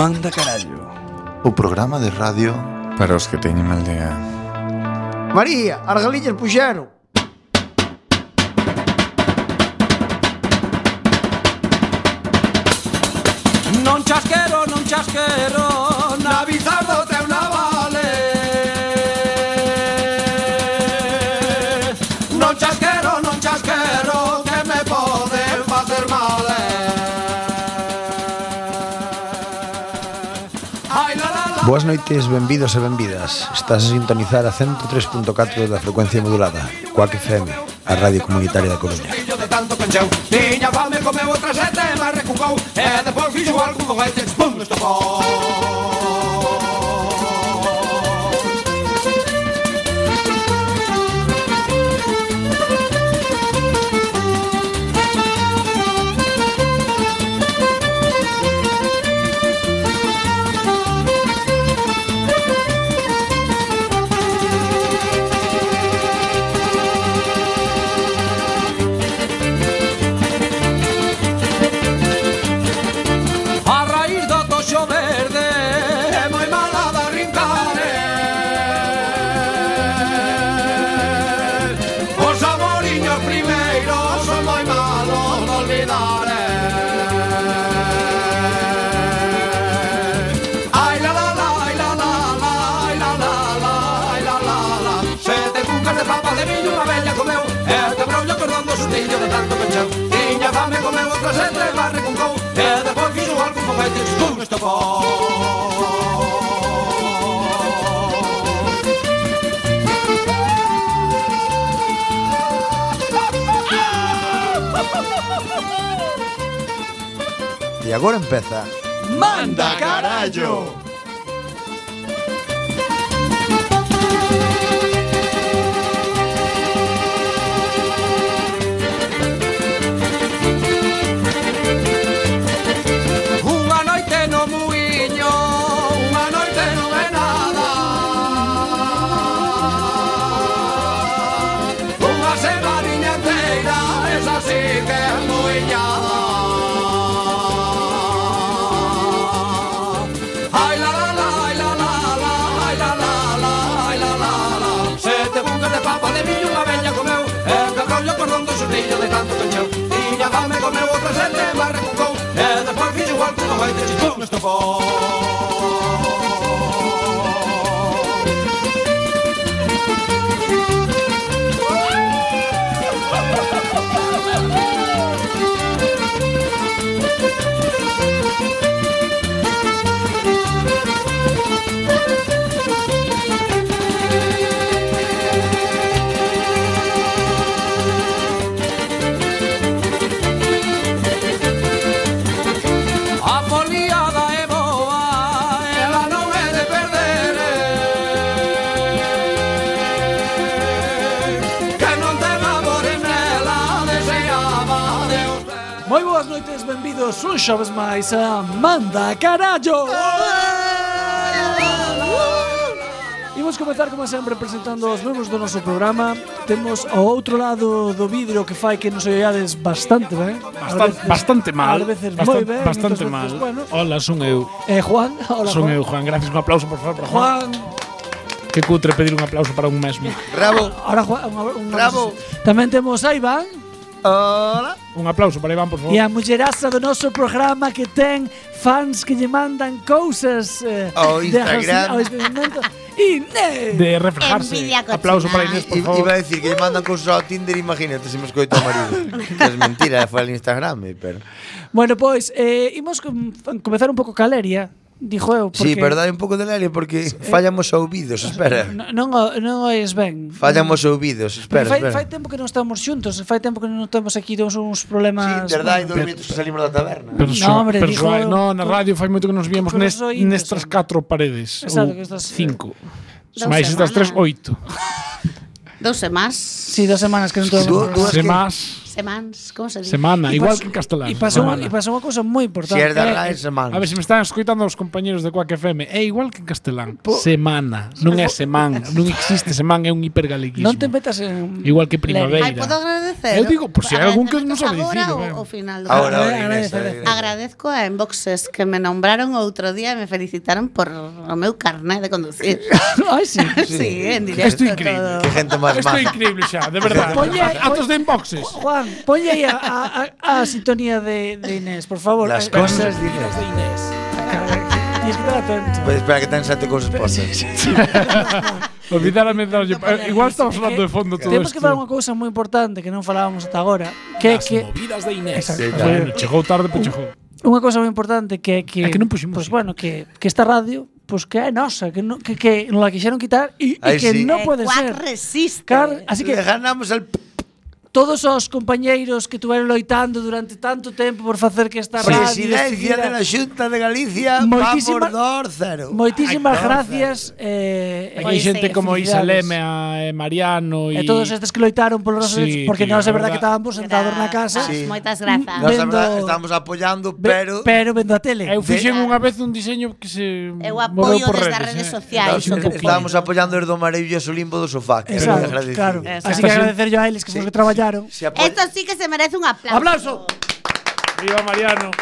Manda carallo O programa de radio Para os que teñen mal día María, as galillas puxeron Non chasquero, non chasquero Na bizardo teu navale Non chasquero, non chasquero Que me poden facer mal eh. Ai la la la Boas noites, benvidos e benvidas Estás a sintonizar a 103.4 da frecuencia modulada Coac FM, a radio comunitaria da Coruña Fillo de tanto pencheu Tiña fame, comeu outra sete Mas recucou E depois fixo algún goete Pum, estopou A raíz do toxo verde É moi mala da rincare eh. Os amoriños primeiros Son moi malos de olvidar eh. Ai la la la, ai la la la Ai la la la, ai la la la Sete cucas de papa de millo Unha bella comeu E te brollo cordando sustillo de tanto pencheu Tiña fame comeu outra sete Barre con cou E depois fixo algo con fetes Pum, estopou E agora empeza Manda carallo. Unha noite no muiño, unha noite non é nada. Unha semaniña inteira, esa sí que é muiñada. Ai la la la, ai la la la, ai la la la, ai la la la. Sete bucas de papa de millo unha bella comeu, e de rollo con rondo xurrillo de tanto cancheu. Tiña fame comeu outra sete, mas recucou, e despois fixo igual que non vai ter chispou no estofón. A foliada é boa, ela non é de perder eh. Que non ten amores nela, deseaba Deus Moi boas noites, benvidos un xoves máis a Manda Carallo Imos comezar como sempre presentando os membros do noso programa Temos ao outro lado do vidro que fai que nos oiades bastante ¿eh? ben Ás Bastante, veces- bastante mal. ás veces bastante, moi ben, bastante outras mal. veces, bueno. Hola, son eu. Eh, Juan, hola son Juan eu, Juan. Gracias, un aplauso, por favor, para Juan. Juan, Que cutre pedir un aplauso para un mesmo. Bravo ahora Juan un, un, Bravo. Tamén temos a Iván Hola Un aplauso para Iván, por favor. E a mulleraza do noso programa que ten fans que lle mandan cousas eh, Ao Oh, de Instagram. arrosi- ao experimento. Inés! De reflejarse. Envidia cochina. aplauso para Inés, por Iba favor. a decir que lle mandan cousas ao Tinder Imagínate se me escoita o marido Que Es mentira, foi al Instagram eh, pero... Bueno, pois, eh, imos com- comezar un pouco caleria, dixo eu. Porque Sí, pero dai un pouco de lele porque fallan os ouvidos, Ah, espera n- Non, o- non o oes ben. Fallan os ouvidos, espera, Porque fai, espera fai tempo que non estamos xuntos, fai tempo que non temos aquí uns, uns Sí, problemas. verdade, dos bueno. minutos que salimos da taberna Perso- No, hombre, dijo- persoa- no, na radio fai moito que nos víamos con nes, os oídos, nestas hombre. catro paredes. Exacto, que ou estas- eh, cinco. Dous Máis estas tres, semanas. oito. Dous e más. Sí, dos semanas que non temos. Du- dúas Se que- más, Semans, como se dice? Semana, E igual pas- que en castelán. E pasou, semana. e pasou unha cousa moi importante. Si es de Arraes, eh, semana. A ver se me están escoitando os compañeros de Quack FM. É igual que en castelán. semana. Non é semán. Non existe semán. É un hipergaleguismo. non te metas en... Igual que Ai, primavera. podo agradecer. Eu digo, por si hai algún que non sabe Agora dicir, o, claro. o final do Ahora, Agradece- ahora, Inés. eh, agradece- ahora, Inés. Agradezco a Enboxes que me nombraron outro día e me felicitaron por o meu carné de conducir. Ai, sí. sí, en Isto directo é increíble. todo. Qué gente más Isto é maja. increíble xa, de verdade. Poñe- Atos de inboxes. Juan, ponlle aí a, a, a, a sintonía de, de Inés, por favor. Las Eh, cosas de Inés. Tienes que estar atento. Pues espera que te han sete cosas posas. Olvidarame de darlle. eh, Igual estamos falando de fondo todo Temos que isto. falar unha cousa moi importante que non falábamos ata agora, que é que Movidas de Inés. Bueno, chegou tarde, pero chegou. unha cousa moi importante que é que É que non puxo Pois música. bueno, que que esta radio Pois que é nosa, que, no, que, que non la quixeron quitar e, e Ai, que sí. non Eh, pode ser. Cuac resiste. Car, así que Le ganamos al... p- todos os compañeiros que tuveron loitando durante tanto tempo por facer que esta radio Presidencia de la Junta de Galicia va Moitísima- por 2-0. Moitísimas Ay, gracias eh, Aquí Pois hai xente sí, como Isa felicidades. Lemea, eh, Mariano e... E todos estes que loitaron polos nosos sí, Sí, porque tío, nós é a verdad que verdad. estábamos sentados na casa Grazas, Sí. Moitas grazas. Nos, la Vendo- verdad, estamos apoyando, ve- pero... pero vendo a tele. Eu fixen De- unha vez un diseño que se Eu moveu apoio por desde redes, as redes eh. sociais. Dá un Claro, pouquinho. Estábamos apoyando el do maravilloso limbo do sofá. que era Exacto, agradecido. claro. Exacto. Así que agradecer yo a eles que son os que traballaron. Se apoya- Esto sí que se merece un aplauso. Aplauso. Viva Mariano.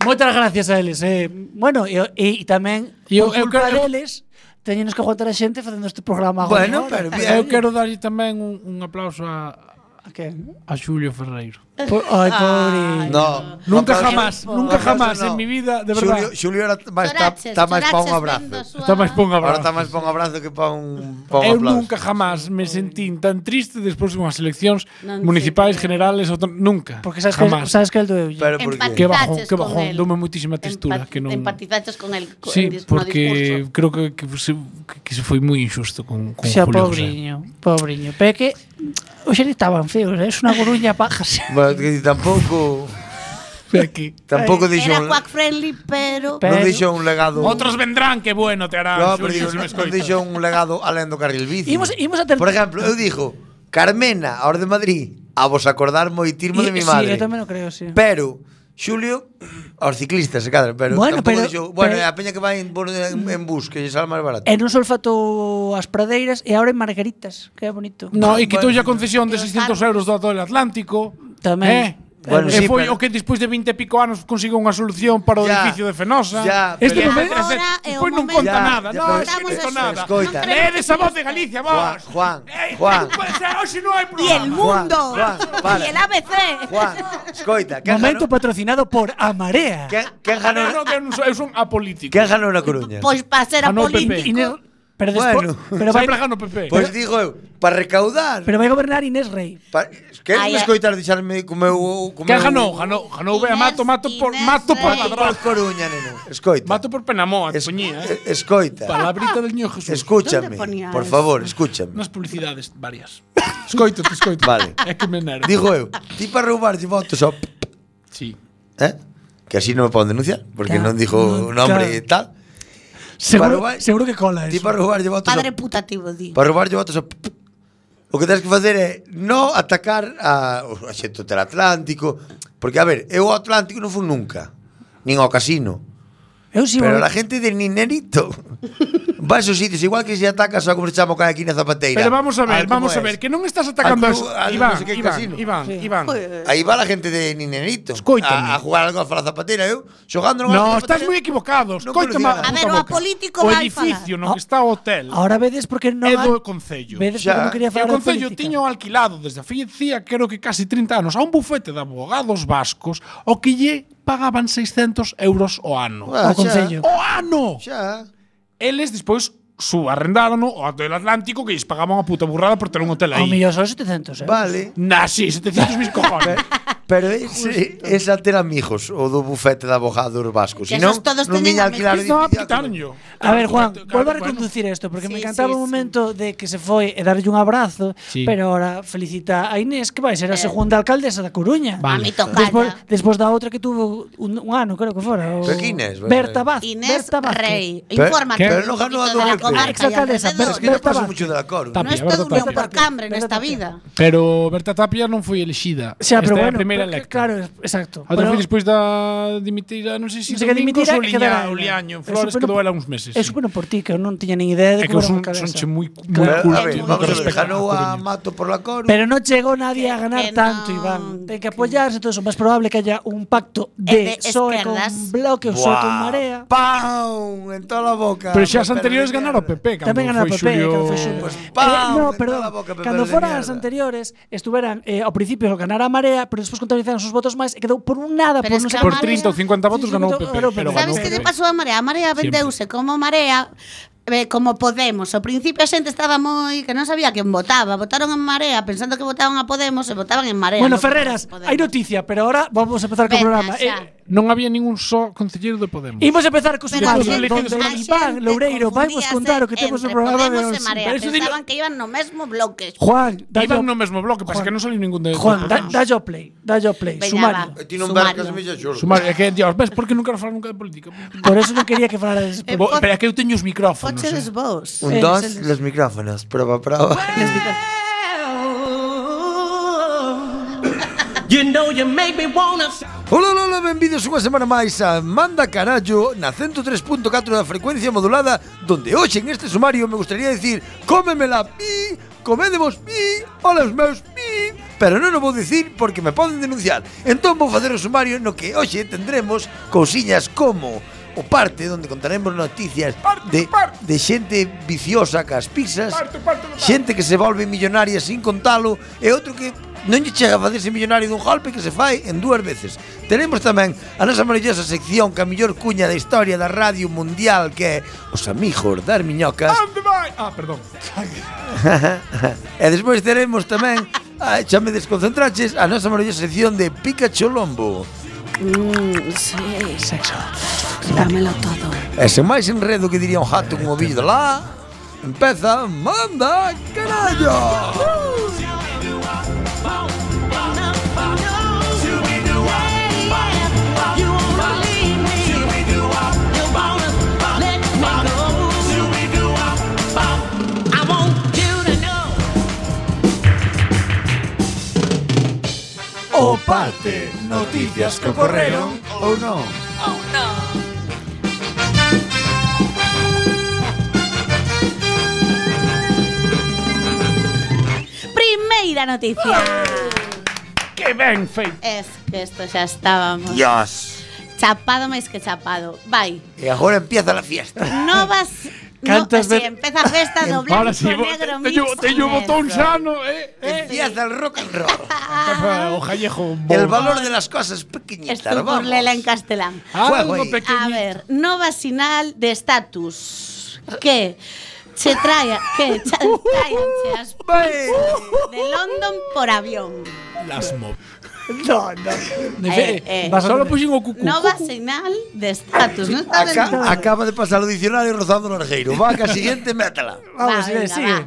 Moitas gracias a eles. Eh, bueno, e, e, e tamén E eu- por eu culpa quero- deles teñenos que aguantar a xente facendo este programa agora. Bueno, pero bien. Eu quero darlle tamén un, un aplauso a, A que? a Xulio Ferreiro. Po- Ai, pobre. No. Nunca aplauso- jamás, nunca aplauso jamás no. en mi vida, de Xulio- verdade. Xulio ahora está máis Choraches, para un choraches abrazo. vendo súa- Está máis pon Ahora abrazo. está máis para un abrazo que para un, pa un Eu aplauso. nunca jamás me sentín tan triste despois dunhas eleccións Non municipais, sei. generales, ou tan- nunca. Porque sabes que, jamás. sabes que el doeu. Pero por Empatizaches qué? Que bajón, que con bajón, el. dome moitísima textura, Empa- que non- Empatizaches con el co- Sí, el dis- no porque discurso. creo que, que, se, que, que se foi moi injusto con, con Xa, Julio José. pobriño, pobriño. Pero é que hoxe estaban feos, ¿eh? é unha goruña paja. sí. Bueno, que tampouco Aquí. tampouco dixo un, Era quack friendly, pero... Pe- non Pero- dixo un legado. Outros vendrán, que bueno te harán. no, Xulio, pero digo, se me non escoitas. dixo un legado alén do carril bici. Imos, imos a ter... Por exemplo, eu dixo Carmena, a hora de Madrid, a vos acordar moitirmo de E- mi Sí, madre. eu tamén o creo, sí. Pero Xulio aos ciclistas, se cadra, pero Bueno, tampouco pero- dixo, bueno, pero- e a peña que vai en, por- en, en bus, que lle sale máis barato. E non solfatou as pradeiras e ahora en margaritas, que é bonito. No, e quitou a concesión de Pero 600 claro. euros do atol Atlántico. Tamén. Eh? Bueno, e sí, foi pero- o que despois de 20 e pico anos consigo unha solución para o Ya, edificio de Fenosa. ya, este pero- non me, Ahora este- é o pois non momento. conta Ya, nada, ya, pero non, es que non estamos conta así. nada. Escoita. Leedes a voz de Galicia, vos. Juan, Ei, Juan, Puede ser, hoxe non hai Y el programa. mundo. Juan, para. Y el ABC. Juan, escoita, que Momento patrocinado por A Marea. Que, que ganó, No, que eu non sou, eu son apolítico. que ganó na Coruña? Pois para pues, ser Ah, no, apolítico. Pepe. Inés, pero Bueno. despois, pero vai Sempre gano PP. Pois digo eu, para recaudar. pero vai gobernar Inés Rei. Pa, queres Ai, me ai. escoitar deixarme co meu co Que meu- ganou, ganou, ganou, vea, Inés, mato, mato por, Inés, mato por Rey. ladrón. Por Coruña, neno. Escoita. Mato por Penamoa, Es- te poñía, eh. eh, Escoita. Palabrita del niño Jesús. Escúchame, ¿Dónde ponía por eso? favor, escúchame. Unas publicidades varias. Escoito, te escoito. Vale. É que me enervo. Digo eu, ti para roubarlle votos ao p- Sí. eh? Que así non me poden denunciar, porque Claro. non dixo o nombre e tal. Seguro, vai- seguro que cola Ti eso. para roubarlle votos ao Padre putativo, di. Para roubarlle votos a... O que tens que facer é non atacar a, o xeto del Atlántico Porque, a ver, eu ao Atlántico non fui nunca Nin ao casino Eu si Pero a la gente de Ninerito Vai aos sitios, igual que se atacas a como se chama o que hai aquí na Zapateira Pero vamos a ver, como vamos a es. ver, que non estás atacando a Al club- al Iván, no sé qué Iván, casino. Iván, Iván. Pues, Aí va a gente de Ninerito Escoítame. a, a jugar algo a la Zapateira Eu, xogando No, estás moi equivocado. No Escoítame conocía nada. A ver, o puta boca. apolítico O vai edificio Ah. no que está o hotel Ahora vedes porque non é ha- do Concello. E vedes Xa. porque non quería falar o de Concello política. tiño alquilado desde a filla, creo que casi 30 anos, a un bufete de abogados vascos o que lle pagaban 600 euros o ano. o concello. O ano! Xa, Eles despois subarrendárono ao hotel Atlántico que lles pagaban a puta burrada por ter un hotel Ao aí. mellor son 700, eh. vale Na, sí, 700 mil cojones. Pero ese, esa terá mijos o do bufete de abogados vascos. Que Si non, esos todos non teñen viña a alquilar mesma- o No, a edificio. pitarnio. A ver, Juan, Claro, vuelvo a bueno. reconducir esto, porque me Sí, encantaba sí, un sí. momento de que se foi e darlle un abrazo, Sí. pero ahora felicita a Inés, que vai ser a Eh. segunda alcaldesa da Coruña. Va. A Vale. mí tocalla. Despois, despois da outra que tuvo un, un ano, creo que fora. O Pero que Inés, vai ser. Berta Vaz. Inés Berta Vázquez. Rey. Pero- Infórmate. pero un no ganó a poquito de la Duarte. comarca y Exalcaldesa, alrededor. Es que non Berta paso Vázquez. mucho de la cor. Tapia, No es Berta todo un león Tapia. por cambre en Berta esta Tapia. vida. Pero Berta Tapia non foi elixida. O sea, pero Esta é bueno, a primeira pero- electa. claro, es- exacto. A Pero outra foi despois da dimitir, a non sei se Non sei que Domingos dimitira ou e quedará Liña, o ela. Liaño, en É Flores super- quedou ela uns meses. É super porque eu non tiña nin idea de É que era son, son alcaldesa. che moi Claro. A ver, cultos vamos a ver, respecto ganou a a Coruña. Mato por la cor. Pero no llegó nadie a Que- ganar que tanto, no, Iván. Hay que que- apoyarse, todo eso. Más probable que haya un pacto de, de PSOE con esquerdas. Bloque o PSOE con Marea. ¡Pam! En toda la boca. Pero xa as Pepe anteriores de ganaron o mierda. PP, cando Tamén gana foi PP, Xulio... cando foi Xulio. Pues, Eh, ¡pam! no, En perdón. toda la boca, Pepe Cando de foran as mierda. anteriores, estuveran eh, ao principio ganar a Marea, pero despois contabilizaron sus votos máis e quedou por un nada, por Pero es non que sei a Por cantos. 30 ou 50 votos ganou o PP, pero ganó ¿Sabes qué eh, le Pepe. pasó a Marea? A Marea Siempre. vendeuse como Marea eh, como Podemos. Ao principio a xente estaba moi que non sabía quen votaba. Votaron en Marea pensando que votaban a Podemos e votaban en Marea. Bueno, non votaban Ferreras, en Podemos. hai noticia, pero ahora vamos a empezar co Venga, programa. xa. Eh, Non había ningún só concelleiro de Podemos. Imos empezar co Pero a segundo, xente- donde a Iván xente Loureiro vai vos confundíase contar o que temos no entre programa de Podemos hoxe. e Marea. Pero eso dilo- Pensaban que iban no mesmo bloque. Juan, dalle Iban ao- no mesmo bloque, pasa Juan. que non saliu ningún de... Juan, da, Podemos. dalle ao play, dalle ao play, Veña, sumario. va. Ti non Sumario. marcas milla xurro. Sumar, é que, Dios, ves, porque non quero falar nunca de política. Por eso non quería que falaras Eh, Bo, po- pero é que eu teño os micrófonos. Fochedes Eh. vos. Un, Eh, dos, es el- los micrófonos. Prueba, prueba. You know you make me wanna Ola, ola, ola, benvidos unha semana máis a Manda Carallo na 103.4 da frecuencia modulada donde hoxe en este sumario me gustaría decir cómemela, pi, comédevos, pi, ola os meus, pi pero non o vou dicir porque me poden denunciar entón vou facer o sumario no que hoxe tendremos cousiñas como o parte onde contaremos noticias de, de xente viciosa cas pizzas xente que se volve millonaria sin contalo e outro que non lle chega a facerse millonario dun golpe que se fai en dúas veces. Tenemos tamén a nosa maravillosa sección que a mellor cuña da historia da radio mundial que é os amigos das miñocas. Ah, perdón. e despois teremos tamén a, xa me desconcentraches a nosa maravillosa sección de Pikachu Lombo. Mm, sí. Sexo. Dámelo todo. E sen máis enredo que diría un jato con o vídeo lá, empeza Manda Carallo! O parte, noticias que ocorreron ou non. Primeira noticia. ¡Ah! Que ben feito. Es que esto xa estábamos. Dios. Chapado máis que chapado. Vai. E agora empieza la fiesta. Novas Cantas ve- no, así, empeza a festa do Em, blanco Ahora sí, negro bo- mix teño, teño negro. Ah. botón sano, eh, eh. Empieza el rock and roll. O Jallejo. El valor de las cosas pequeñitas. Estou vamos. por lela en castelán. Algo Juego ahí. pequeño. A ver, nova sinal de estatus que se traia que cha- tráianche as Uh, de London por avión. Las mo. Eh, eh. Vas a Solo tener- puxen o cucú. Nova sinal de estatus, non está Aca- acaba de pasar o dicionario rozando o largueiro. Vaca siguiente, métala. Vamos, Va, Inés, venga, sigue. va.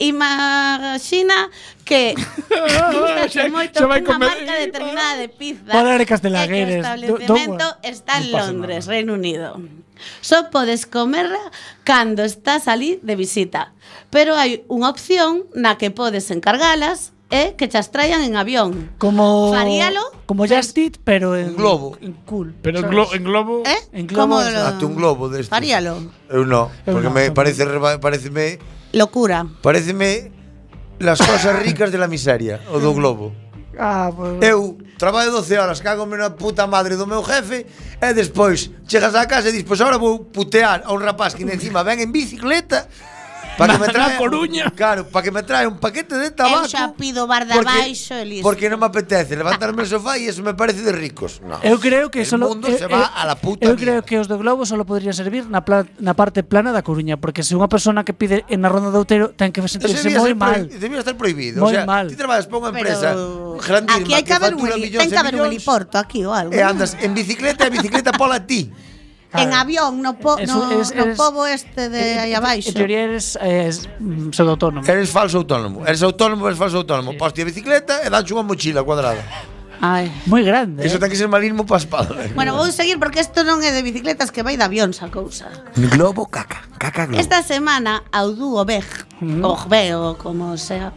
Imaxina que Xa- gustache moito xa vai unha comer- marca determinada de pizza Vale, Ari e que o Castelagueres, do- establecemento don't- está en non pasa Londres, nada. Reino Unido. Só podes comerla cando estás ali de visita. Pero hai unha opción na que podes encargalas e que chas traian en avión. Como. Faríalo. Como Just Eat, pero Un en. globo. En cool. Pero en, ¿sabes? glo en globo. Eh? En globo, Como lo- Hazte un globo destes. Faríalo. Eu non, Eu porque non, me tampouco. parece reba- pareceme Locura. pareceme las cosas ricas de la miseria, o do globo. Ah, pues. Eu traballo 12 horas, cagome na puta madre do meu jefe e despois chegas á casa e dis, pois agora vou putear a un rapaz que encima ven en bicicleta Para que me Na trae, Coruña. Claro, para que me trae un paquete de Eu tabaco. xa pido bar de abaixo e listo. Porque non me apetece levantarme el sofá y eso me parece de ricos. No. Eu creo que el solo mundo eu- se va eu- a la puta eh, Eu mierda. creo que os do globo solo podrían servir na, pla- na parte plana da Coruña, porque se unha persona que pide en na ronda de Outeiro ten que sentirse Debía moi ser mal. prohi- Debía estar prohibido. o Moi sea, mal. ti traballas para unha Pero empresa grandísima aquí hai que haber un, factura heli- millóns ten e que haber un millóns, heliporto aquí ou E algo. non? andas en bicicleta e a bicicleta pola ti. En avión, no, po, Eso no, es- no es- pobo este de Eh, aí abaixo. Eh, En teoría eres eh, pseudo-autónomo. Eres falso autónomo. Eres autónomo, eres falso autónomo. Poste a bicicleta e dache unha mochila cuadrada. Ai. Moi grande. Iso eh. ten que ser malismo pa espalda. Bueno, vou seguir porque isto non é de bicicletas que vai de avións a cousa. Globo caca, caca globo. Esta semana ao dúo Bej, Mm. ou Beo, como sea,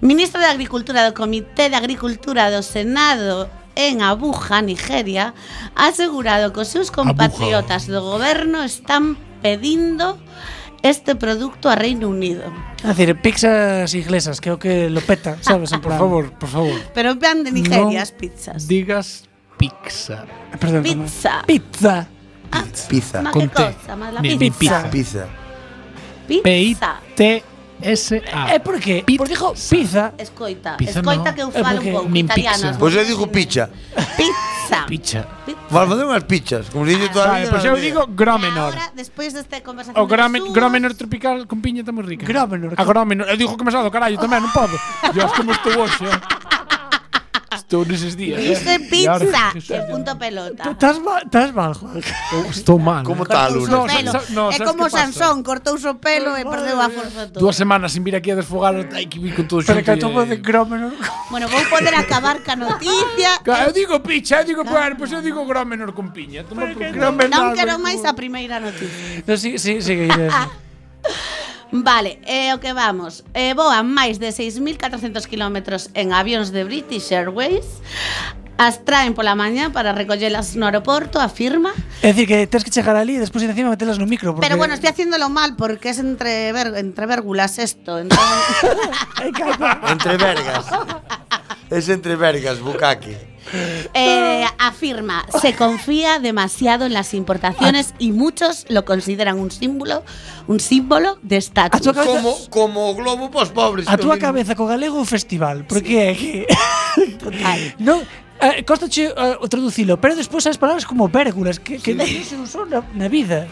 ministro de Agricultura do Comité de Agricultura do Senado en Abuja, Nigeria, ha asegurado que os seus compatriotas do goberno están pedindo este produto a Reino Unido. É dicir, pizzas inglesas, creo que lo peta, sabes? En Por plan- favor, por favor. Pero en plan de Non Nigeria, as pizzas. Digas pizza. Perdón, como- Pizza. Pizza. Pizza. Má Con que té. cosa, má la Ni- ni pizza. Pizza. Pizza. P-I-T-S-A. É Eh, por qué? Por dijo pizza. Escoita, Pizza escoita no. que eu É falo un porque pouco nin italiano. pizza. as Pois eu vosas digo dicen- pizza. Pizza. Pizza. Pizza. Vamos facer unhas pizzas, como dixo toda a Vale, vida. pues eu digo Gromenor. Ahora, E despois desta conversación O de gromen, súas, gromenor tropical con piña está moi rica. Gromenor. A gromenor. Eu digo que me sado, carallo, tamén, non podo. Dios, como estou hoxe. eh. Estou neses días. eh. Dice E ahora, pizza Jesús, e punto pelota. Estás mal, estás mal, Juan. eu Estou mal. Como Como tal, Cortouse o Luna. No, pelo. sa- sa- no, é sabes como que pasa? Sansón, cortouse o pelo e perdeu a forza toda. Dúas semanas sin vir aquí a desfogar, hai que vir con todo Pero xunto. que a tomo de e- Gromenor. Bueno, vou poder acabar ca noticia. Ca- Eu digo pizza, eu digo puer, pois eu digo gromenor con piña. Toma por culo. Non quero máis a primeira noticia. No, sí, sí, sí, que dices. Vale, é o que vamos. Eh, voan máis de 6.400 kilómetros en avións de British Airways. As traen pola mañá para recollelas no aeroporto, afirma. Es decir, que tienes que llegar allí y después encima meterlas en un micro. Porque... Pero bueno, estoy haciéndolo mal porque es entre, ver- entre vérgulas esto. Entonces... Entre vergas. Es entre vergas, bucaque. Eh, afirma, se confía demasiado en las importaciones y muchos lo consideran un símbolo, un símbolo de A estatus. tua cabeza, Como, como o globo pos pobres. a que tua o mismo. cabeza co galego o festival. Porque é que... Total. no, eh, costa che eh, o traducilo, pero despois as palabras como vérgulas que, que non se usou na, na vida.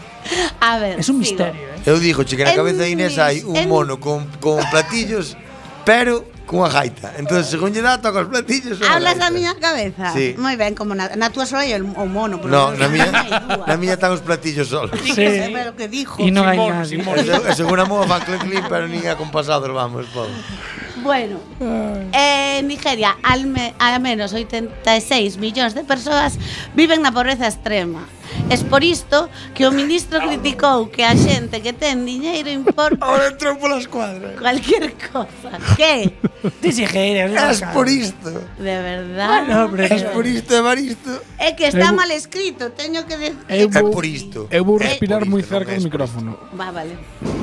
A ver, Es un sigo. misterio, eh. Eu digo, che, que na En cabeza de Inés hai un mis- en- mono con, con platillos, pero cunha gaita. Entón, según lle dá, toca os platillos ou a Hablas gaita. da miña cabeza. Sí. Muy bien, como na, na túa só hai el- o mono. porque No, na miña, non hai dúas. na miña están os platillos solos. Dixo, Sí. se ve lo que dijo. E non hai Simón, nadie. Simón. E se- e según a moa fan clic clic, pero nin acompasados vamos, pobre. Bueno, en Nigeria al, me- al menos 86 millóns de persoas viven na pobreza extrema. Es por isto que o ministro criticou que a xente que ten diñeiro importa Ahora entrou polas cuadras. cualquier cosa. Que, Ti si geira, Es por isto. de verdad, Bueno, Ah, hombre, Es por isto, Evaristo. é que está Eu- mal escrito, teño que decir. É Eu vou- por isto. Eu vou Eh, respirar por moi isto, non cerca do é por micrófono. Va, vale.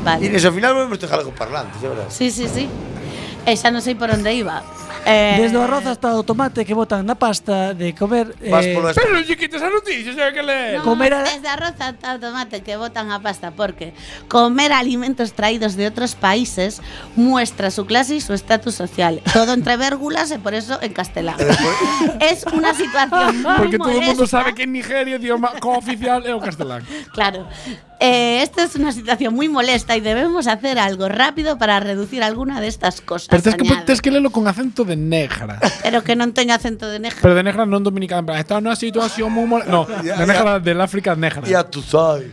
Vale. Inés, ao final volvemos ter galego parlante, xa verás. Sí, sí, sí. E xa non sei por onde iba. Eh, Desde o arroz hasta o tomate que botan na pasta de comer Vas polo eh, Pero non lle quites a noticia, xa que le... No, Comer a- es de arroz hasta tomate que botan a pasta porque comer alimentos traídos de otros países muestra su clase y su estatus social. Todo entre vérgulas y por eso en castellano. es una Eh, situación muy pues- Porque todo o mundo molesta. sabe que en Nigeria o idioma cooficial é o castelán. Claro. Eh, esta es una situación muy molesta y debemos hacer algo rápido para reducir alguna de estas cosas. Pero tens que, añade. tens que lelo con acento de negra. Pero que no tenga acento de negra. Pero de negra non dominicana. en plan, Esta é unha situación moi mol... No, Ya, de negra del África negra. Ya tú sabes.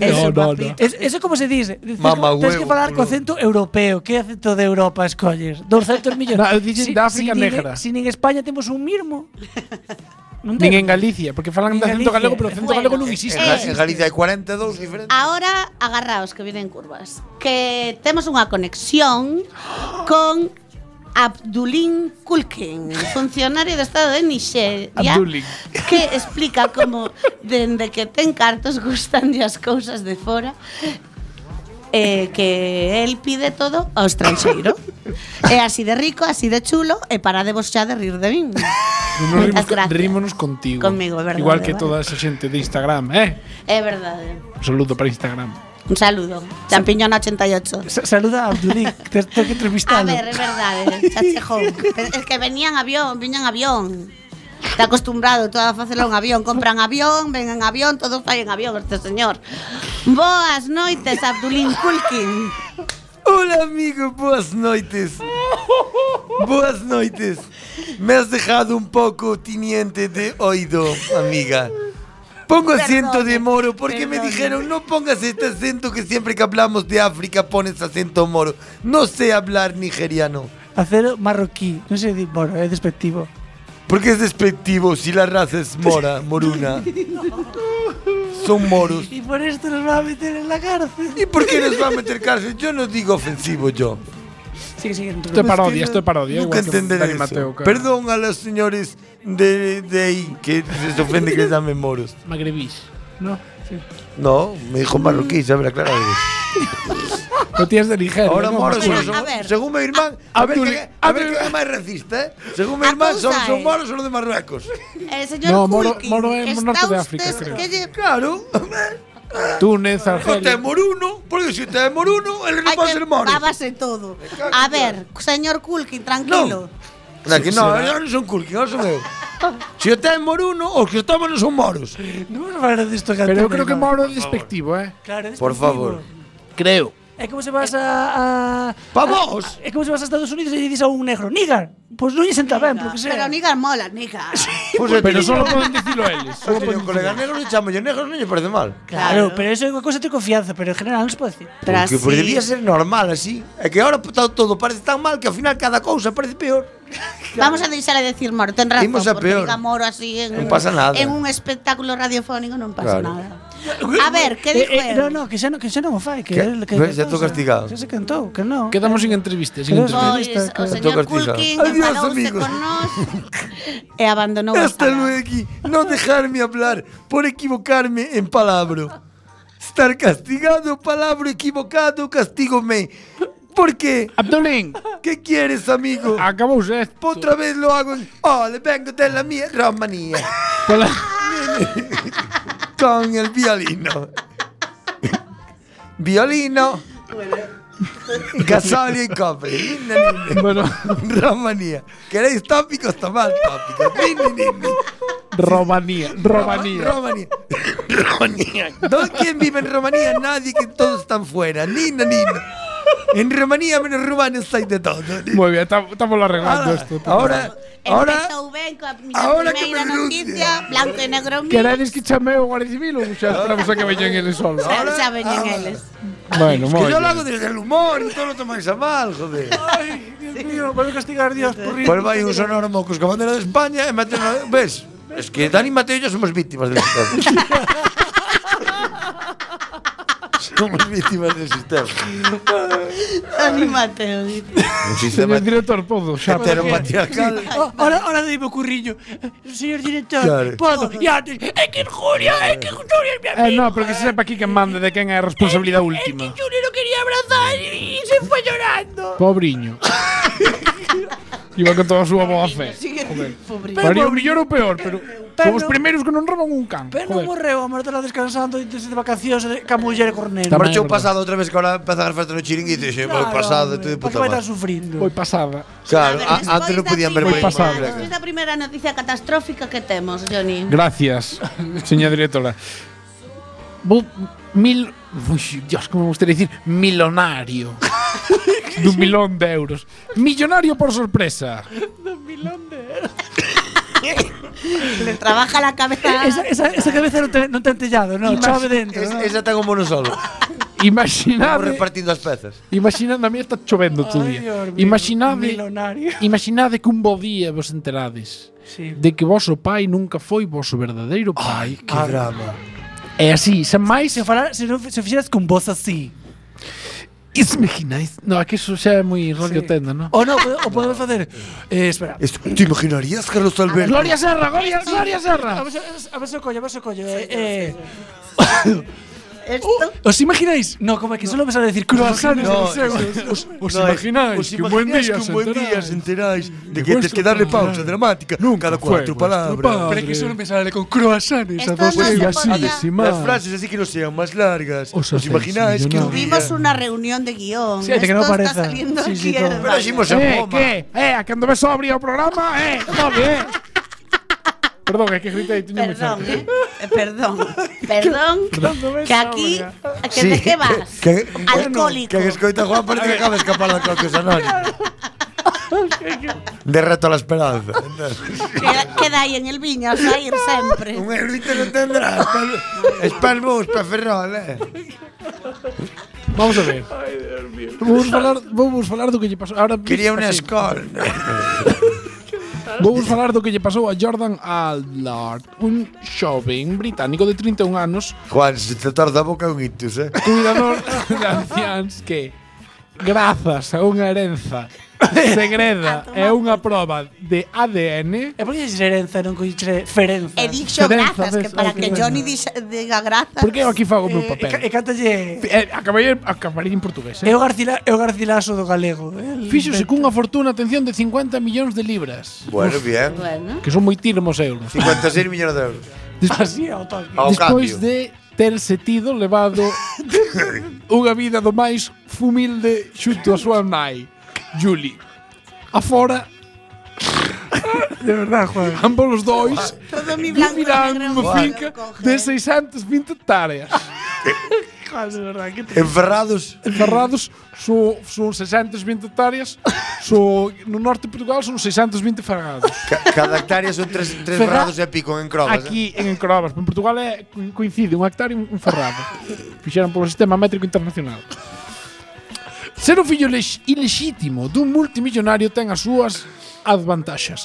No, no, no. Es, eso como se dice? Tens Mama que, tens que huevo, falar co culo. acento europeo. Que acento de Europa escolles? 200 millóns. No, dicen da África nin- negra. Si nin España temos un mirmo. Non Nin en temos. Galicia, porque falan Nin de acento Galicia. galego, pero o acento Bueno, galego En, non existe. Ga- en Galicia hai 42 diferentes. Ahora agarraos que vienen curvas. Que tenemos una conexión con Abdulín Kulkin, funcionario de Estado de Nigeria, Abdulín. que explica como dende que ten cartos gustan as cousas de fora eh, que el pide todo ao estranxeiro. É así de rico, así de chulo, e para de vos xa de rir de min. Nos rimos, Moitas eh, gracias. rímonos contigo. Conmigo, é verdade, Igual que vale. toda esa xente de Instagram, eh? É verdade. Un saludo para Instagram. Un saludo. Champiñón 88. Sa- Saluda a Abdulik, te tengo que Este A entrevistarlo. ver, es verdad, eh, chachejón. Pero Es que venían avión, viñan avión. Está acostumbrado todo a facelo en avión. Compran avión, ven en avión, todo fai en avión este señor. Boas noites, Abdulín Kulkin. Hola amigo, buenas noites. Buenas noites. Me has dejado un poco tiniente de oído, amiga. Pongo acento de moro porque me dijeron no pongas este acento que siempre que hablamos de África pones acento moro. No sé hablar nigeriano. Acero marroquí, non sei, di- bueno, é despectivo. Porque es despectivo si la raza es mora, moruna. Son moros. E por esto nos va a meter en la cárcel. ¿Y por qué nos va a meter cárcel? Yo no digo ofensivo yo. Sigue, sigue. non te Esto é preocupes. parodia, esto é parodia. Nunca igual que entenderé Dani eso. Mateo, cara. Perdón a los señores de, de ahí que se ofende que les llamen moros. Magrebís. No, sí. No, me dijo marroquí, ya me la clara. No tienes de Nigeria. Ahora ¿no? Ah, moros, Mira, son- a son- ver. según mi hermano, a ver Abdul- que a ver Abdul- que es más racista, ¿eh? Según mi A hermano, son, causa son Ah, es. moros o los de Marruecos. El señor No, Moro- Kulkin, Moro é está norte de usted- África, creo. que lle- Claro. Túnez, Usted es Argelia. moruno, porque si usted es moruno, él no Hay puede que ser moro. babase todo. A ver, señor Kulkin, tranquilo. No, que no, ahora no son curquis, ahora son eu. Si usted es moruno, os que estamos no son moros. Non vamos a falar disto que Antonio, Pero eu creo que no. moro é despectivo, eh. Claro, é Por favor. despectivo. Creo. É como se vas a... a Pa vos. é como se vas a Estados Unidos e dices a un negro, Pues nígar, pois non lle senta ben, porque sea. Pero Nigar mola, Nigar. Pues Pero solo pueden decirlo eles. Só teño un colega negro e chamo yo negro, non lle parece mal. Claro, pero eso é unha cosa de confianza, pero en general non se pode decir. Pero Porque así- pues, debía ser normal así. É que ahora está todo parece tan mal que ao final cada cousa parece peor. Vamos a deixar a decir Moro, ten razón, Imos a porque peor. diga Moro así en, Non pasa nada. en un espectáculo radiofónico non pasa Claro. nada. A ver, que dijo Eh, eh, él? no, no, que xa, non- que xa non o fai, que, Que- el- que ves, ya estou o sea, castigado. Xa se cantou, que non. Quedamos sin entrevistas, sin Pero- entrevistas. Pois, Pues, o Toca señor artista. Culkin Adiós, Este enfadause amigos. con nós e abandonou a Hasta sala. luego. No dejarme hablar por equivocarme en palabra. Estar castigado, palabra equivocado, castígome. ¿Por qué? Abdulín, ¿Qué quieres, amigo? Ah, acabouse esto. Otra vez lo hago. en- Ole, vengo de la mía Romanía Pola- con el violino. violino. Casolio y cofre. Linda, linda. Bueno, Romanía. ¿Queréis tópicos? Tomad tópicos. Ni, ni, ni, ni. Romanía, Romanía. Romanía. Romanía. ¿Dó- ¿Quién vive en Romanía? Nadie, que todos están fuera. Nina, nina. En Romanía menos rumanos hay de todo. Muy bien, tam- estamos arreglando Ahora, esto. estamos ahora, ahora, Empezou ben coa miña ahora que primeira me noticia, renuncia. blanco e negro mix, Queredes que chame o Guardia Civil ou xa esperamos a que veñan eles solos? xa- xa veñen eles. Bueno, que moi yo lo ben. hago desde el humor y todo lo tomáis a mal, joder. Ay, Dios mío, vamos a castigar a Dios por rir. Pues vai un sonoro mocos con bandera de España e Mateo no- ves? Es que Dani y Mateo y yo somos víctimas del sistema. somos víctimas del sistema. Anímate, oído. Un sistema Señor director, podo xa. heteropatriarcal. Oh, ahora, ahora dime o curriño. Señor director, Claro. podo. E antes, é que injuria, é que injuria, mi Eh, amigo. no, pero que se sepa aquí que manda de quen é a responsabilidade última. Yo no quería abrazar y, y se fue llorando. Pobriño. Iba con toda a súa boa fe. Varía o mellor ou peor, pero Pero- somos os primeiros que non roban un can. Pero non morreu, Joder. a mortela descansando e desde de vacacións de ca muller e cornelo. Tamén é Marchou verdade. pasado outra vez que ahora empeza a gastar no chiringuito e dixen, "Vou pasado, estoy de puta madre". madre. estar sufrindo. Foi pasada. Claro, A ver, a- despois antes non da podían ver primeira- por pasable. Despois da primeira noticia catastrófica que temos, Johnny. Gracias, señora directora. Vou mil... Uy, Dios, como me gustaría decir milonario. dun milón de euros. Millonario por sorpresa. Le trabaja la cabeza. Esa, esa, esa cabeza non ten, non ten tellado, non, chove dentro. Es, non? esa ten un mono solo. Vamos Imaginade... repartindo as pezas. Imaginade, a mí está chovendo todo o Ai, día. Dios mío, Imaginade, Milonario. imaginade que un bo día vos enterades Sí. de que vosso pai nunca foi vosso verdadeiro pai. Que drama. É así, sen máis, Se, falar, se, non- se fixeras con voz así. Is imagináis? No, é que eso xa é moi rollo Sí. tenda, non? O no, o podemos facer. Eh, espera. Esto, ¿Te imaginarías, Carlos Alberto? Gloria Serra, Gloria, Gloria A Serra. ver, se- a ver se o collo, a ver se o collo. Eh, eh, esto. Os imagináis? No, como é que solo me sale decir croissants No, no, no, os, os imagináis que un buen día que un buen se día enteráis se enteráis de de que tienes que darle vuestro pausa padre. dramática Nunca cada fue cuatro palabras. vuestro padre. Pero é que solo me sale con croissants Esto a vos no se y podía- así, Las sin Las más. frases así que no sean más largas. Os Os, hacéis imagináis que un día... Tuvimos una reunión de guión. Sí, de que no Esto parece. está saliendo Sí, sí, aquí todo. del Pero hicimos en Eh, Roma. que? Eh, a cando me sobrio o programa, eh, come, eh. Perdón, é que gritei, tiño moi Perdón, cerca. eh. Eh, Perdón, perdón. Que aquí. ¿Que ¿De qué vas? Que, Alcohólico. que escoita Juan parece que acaba de escapar da Coques Anónimos. De reto a la esperanza. Queda- Queda ahí en el viño, vas a ir siempre. un eurito non tendrás. Es pa'l bus, pa' Ferrol, eh. Vamos a ver. Vamos falar, vamos falar do que lle pasou. Ahora Quería una así, escol. Vamos falar do que lle pasou a Jordan Allard, un xoven británico de 31 anos, Juan, se te tarda a boca un ictus, eh. cuidador de ancians que grazas a unha herenza segreda A tomar e unha proba de ADN E por que dices herenza e non coiche ferenza? He dicho Ferenza, grazas, que ves, ay, para que Ferenza. Johnny dis- diga grazas. Porque eu aquí fago o E, meu papel. cantalle Eh, Acabei acabarei en portugués, É eh? o, garcila, é o garcilaso do galego. eh, el- Fíxose cunha fortuna, atención, de 50 millóns de libras. Bueno, bien. pues, Bueno. Que son moi tirmos euros. 56 millones de euros. Ah, Así ao toque. Ao Despois cambio. de terse tido levado unha vida do máis humilde xunto a súa nai, Julie. Afora, De verdad, Juan. ambos os dois Todo mi blanco vivirán nunha negro, lo finca coge. de 620 hectáreas. Juan, de verdad. Que te... Enferrados. Encerrados son, son 620 hectáreas, son, no norte de Portugal son 620 ferrados. Ca- cada hectárea son tres, tres Ferra- ferrados e pico en crobas. eh. Aquí en Crobas, en Portugal é, co- coincide un hectare e un un ferrado. Fixeron polo sistema métrico internacional. Ser o fillo lex- ilexítimo dun multimillonario ten as súas advantaxas.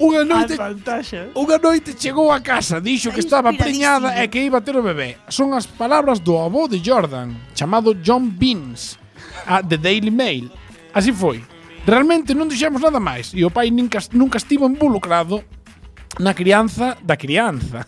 Unha noite Vantaxe. Unha noite chegou a casa, dixo que estaba Inspiradísimo. preñada e que iba a ter o bebé. Son as palabras do avó de Jordan, chamado John Beans, a The Daily Mail. Así foi. Realmente non dixemos nada máis e o pai nunca, nunca estivo involucrado na crianza da crianza.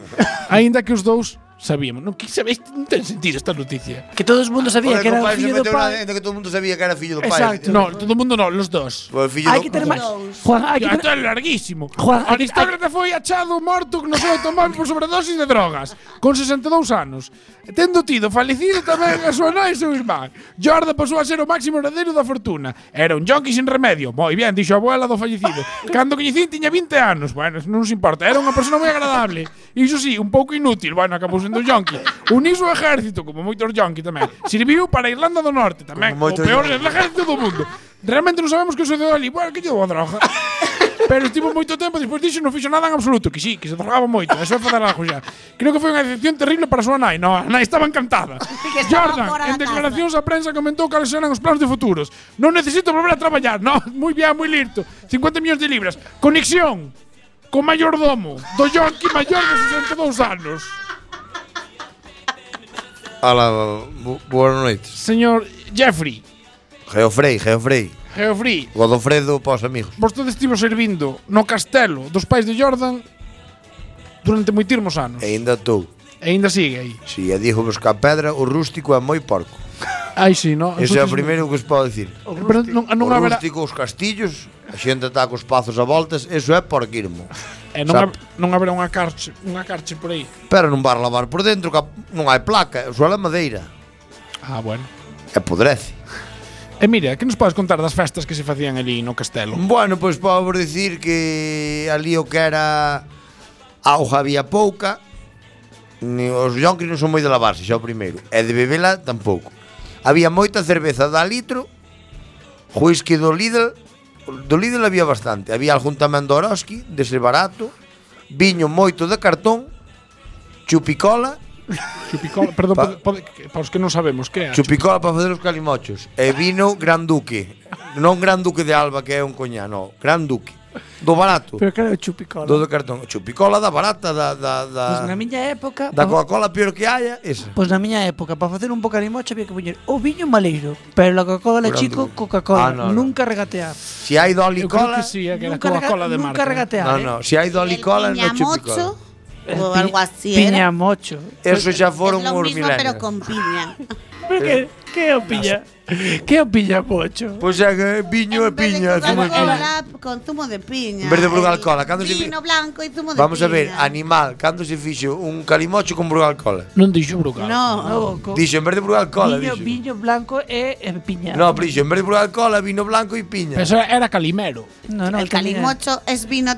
Aínda que os dous sabíamos. Non, que sabéis, non ten sentido esta noticia. Que todo o mundo Joder, sabía que que o era o pai se fillo do meteu na pai. dentro que todo o mundo sabía que era fillo do pai. Exacto. No, todo o mundo non, los dos. O fillo do- Hai que ter máis. Dos. Juan, hai que ter Isto é larguísimo. Juan, o aristócrata foi achado morto no seu automóvil por sobredosis de drogas, con 62 anos. Tendo tido falecido tamén a súa nai e seu irmán. Jordan pasou a ser o máximo herdeiro da fortuna. Era un jonqui sin remedio. Moi bien, dixo a abuela do fallecido. Cando coñecín tiña 20 anos. Bueno, non nos importa. Era unha persona moi agradable. Iso sí, un pouco inútil. Bueno, acabou sendo un jonqui. Uniu o exército, como moitos jonqui tamén. Serviu para a Irlanda do Norte tamén. Como O moitos peor yonki. exército do mundo. Realmente non sabemos que sucedeu ali. Bueno, que lle dou a droga. Pero estivo moito tempo despois disso non fixo nada en absoluto, que sí, que se drogaba moito, eso é fatal algo xa. Creo que foi unha decepción terrible para a súa nai, no, a nai estaba encantada. estaba Jordan, fora en da declaracións á prensa comentou cales eran os planos de futuros. Non necesito volver a traballar, no, moi bien, moi lirto. 50 millóns de libras. Conexión co mayordomo do Yorkie maior de 62 anos. Ala, bu- boas noites. Señor Jeffrey, Geofrei, Geofrei. Jeffrey, Godofredo para os amigos. vostede estivo servindo no castelo dos pais de Jordan durante moitirmos anos. E ainda estou. E ainda sigue aí. Si, e dijo buscar pedra, o rústico é moi porco. Ai, sí, no. Eso é o Ah, entonces- primeiro que os podo dicir. Pero non, non o haberá, rústico, os castillos, a xente está cos pazos a voltas, eso é porquirmo. eh, non, Sa- hab- non haberá unha carche, unha carche por aí. Pero non vas lavar por dentro, que non hai placa, o suelo é madeira. Ah, bueno. E podrece. E mira, que nos podes contar das festas que se facían ali no castelo? Bueno, pois podo vos dicir que ali o que era auga había pouca ni os yonkis non son moi de lavarse, xa o primeiro e de bebela tampouco había moita cerveza da litro whisky do Lidl do Lidl había bastante había algún tamén do Oroski, dese barato viño moito de cartón chupicola Chupicola, perdón, Pa- pode, pode, que- para os que non sabemos que é. a Chupicola para facer os calimochos E vino Gran Duque Non Gran Duque de Alba que é un coñá no, Gran Duque Do barato Pero claro, chupicola. Do do cartón. Chupicola da barata, da, da, Pois na da, miña época, da pa- Coca-Cola peor que haya, esa. pois na miña época, para facer un bocadimocho había que poñer o viño maleiro, pero la Coca-Cola Grande. chico, Coca-Cola, Ah, no, no. nunca regatear. Si hai Eu creo dolicola... que sí, é que era nunca Coca-Cola rega- de nunca marca. ¿eh? regatear. No, eh. no, si hai El dolicola, non piñamocho chupicola. o algo así. ¿eh? Piña era. mocho. Eso xa Es foron lo os mismo, pero milenios. con piña. ¿Qué, qué é o piña? Que é o piña mocho? Pois é que viño e En vez de piña. zumo e piña. Coca-Cola con zumo de piña. En vez de y Brugal Cola, cando se Vino blanco y zumo de Vamos a ver, piña. animal, cando se fixo un calimocho con Brugal Cola? Non dixo brugal. No, No, co- Dixo, en vez de Brugal Cola, viño, dixo. viño blanco e, e piña. No, prixo, en vez de Brugal Cola, vino blanco e piña. Pero Eso era calimero. no, no, el tenía- calimocho es vino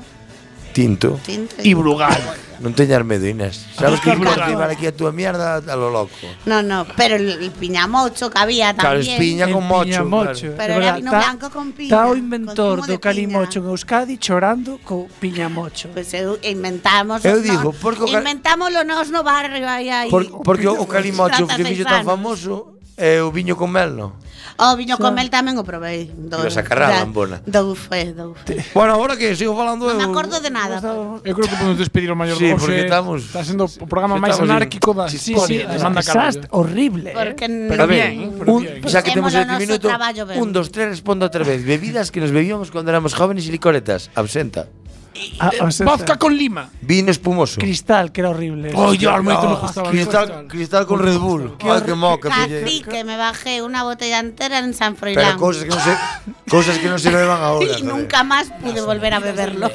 Tinto. tinto. E brugal. Non teñas medo, Inés. Sabes que Brugal vas Cola. levar aquí a túa mierda a lo loco. No, no, pero el, el piñamocho que había Claro, es también. piña El con mocho. piña mocho. claro. Pero É era verdad, vino tá- blanco con piña. Está o con inventor zumo do de calimocho en piña. Euskadi chorando co piña mocho. Pues eu- inventamos. Eu os digo, no- porque o cal- Inventámoslo nos no barrio aí, aí. Por, porque o calimocho Trata que seis fixo tan anos. famoso é o viño con mel, non? O viño con mel tamén o probei. Do, Ibas a carrar a lambona. Do bufé, do bufé. Bueno, agora que sigo falando Non eu... me acordo de nada. pois. Eu creo que podemos despedir o maior Sí, do porque Oxe. estamos- Está sendo o programa máis estamos en- anárquico da Sí, sí, historia. Ah, de Manda desastre, Carallo. horrible. Porque eh. Pero n- ben, pero un, bien. xa que temos este Facemos o noso minuto, traballo ben. un, dos, tres, respondo outra vez. Bebidas que nos bebíamos cando éramos jóvenes e licoretas. Absenta. Ah, o sea, Vodka con lima. Vino espumoso. Ah, Cristal, que era horrible. Oh, Dios, moito me gustaba. Cristal, cristal con Red Bull. Ah, que moca, pille. Casi que me bajé una botella entera en San Pero Froilán. cousas que non se cousas que non se beban ahora. y joder. nunca más pude volver a beberlo.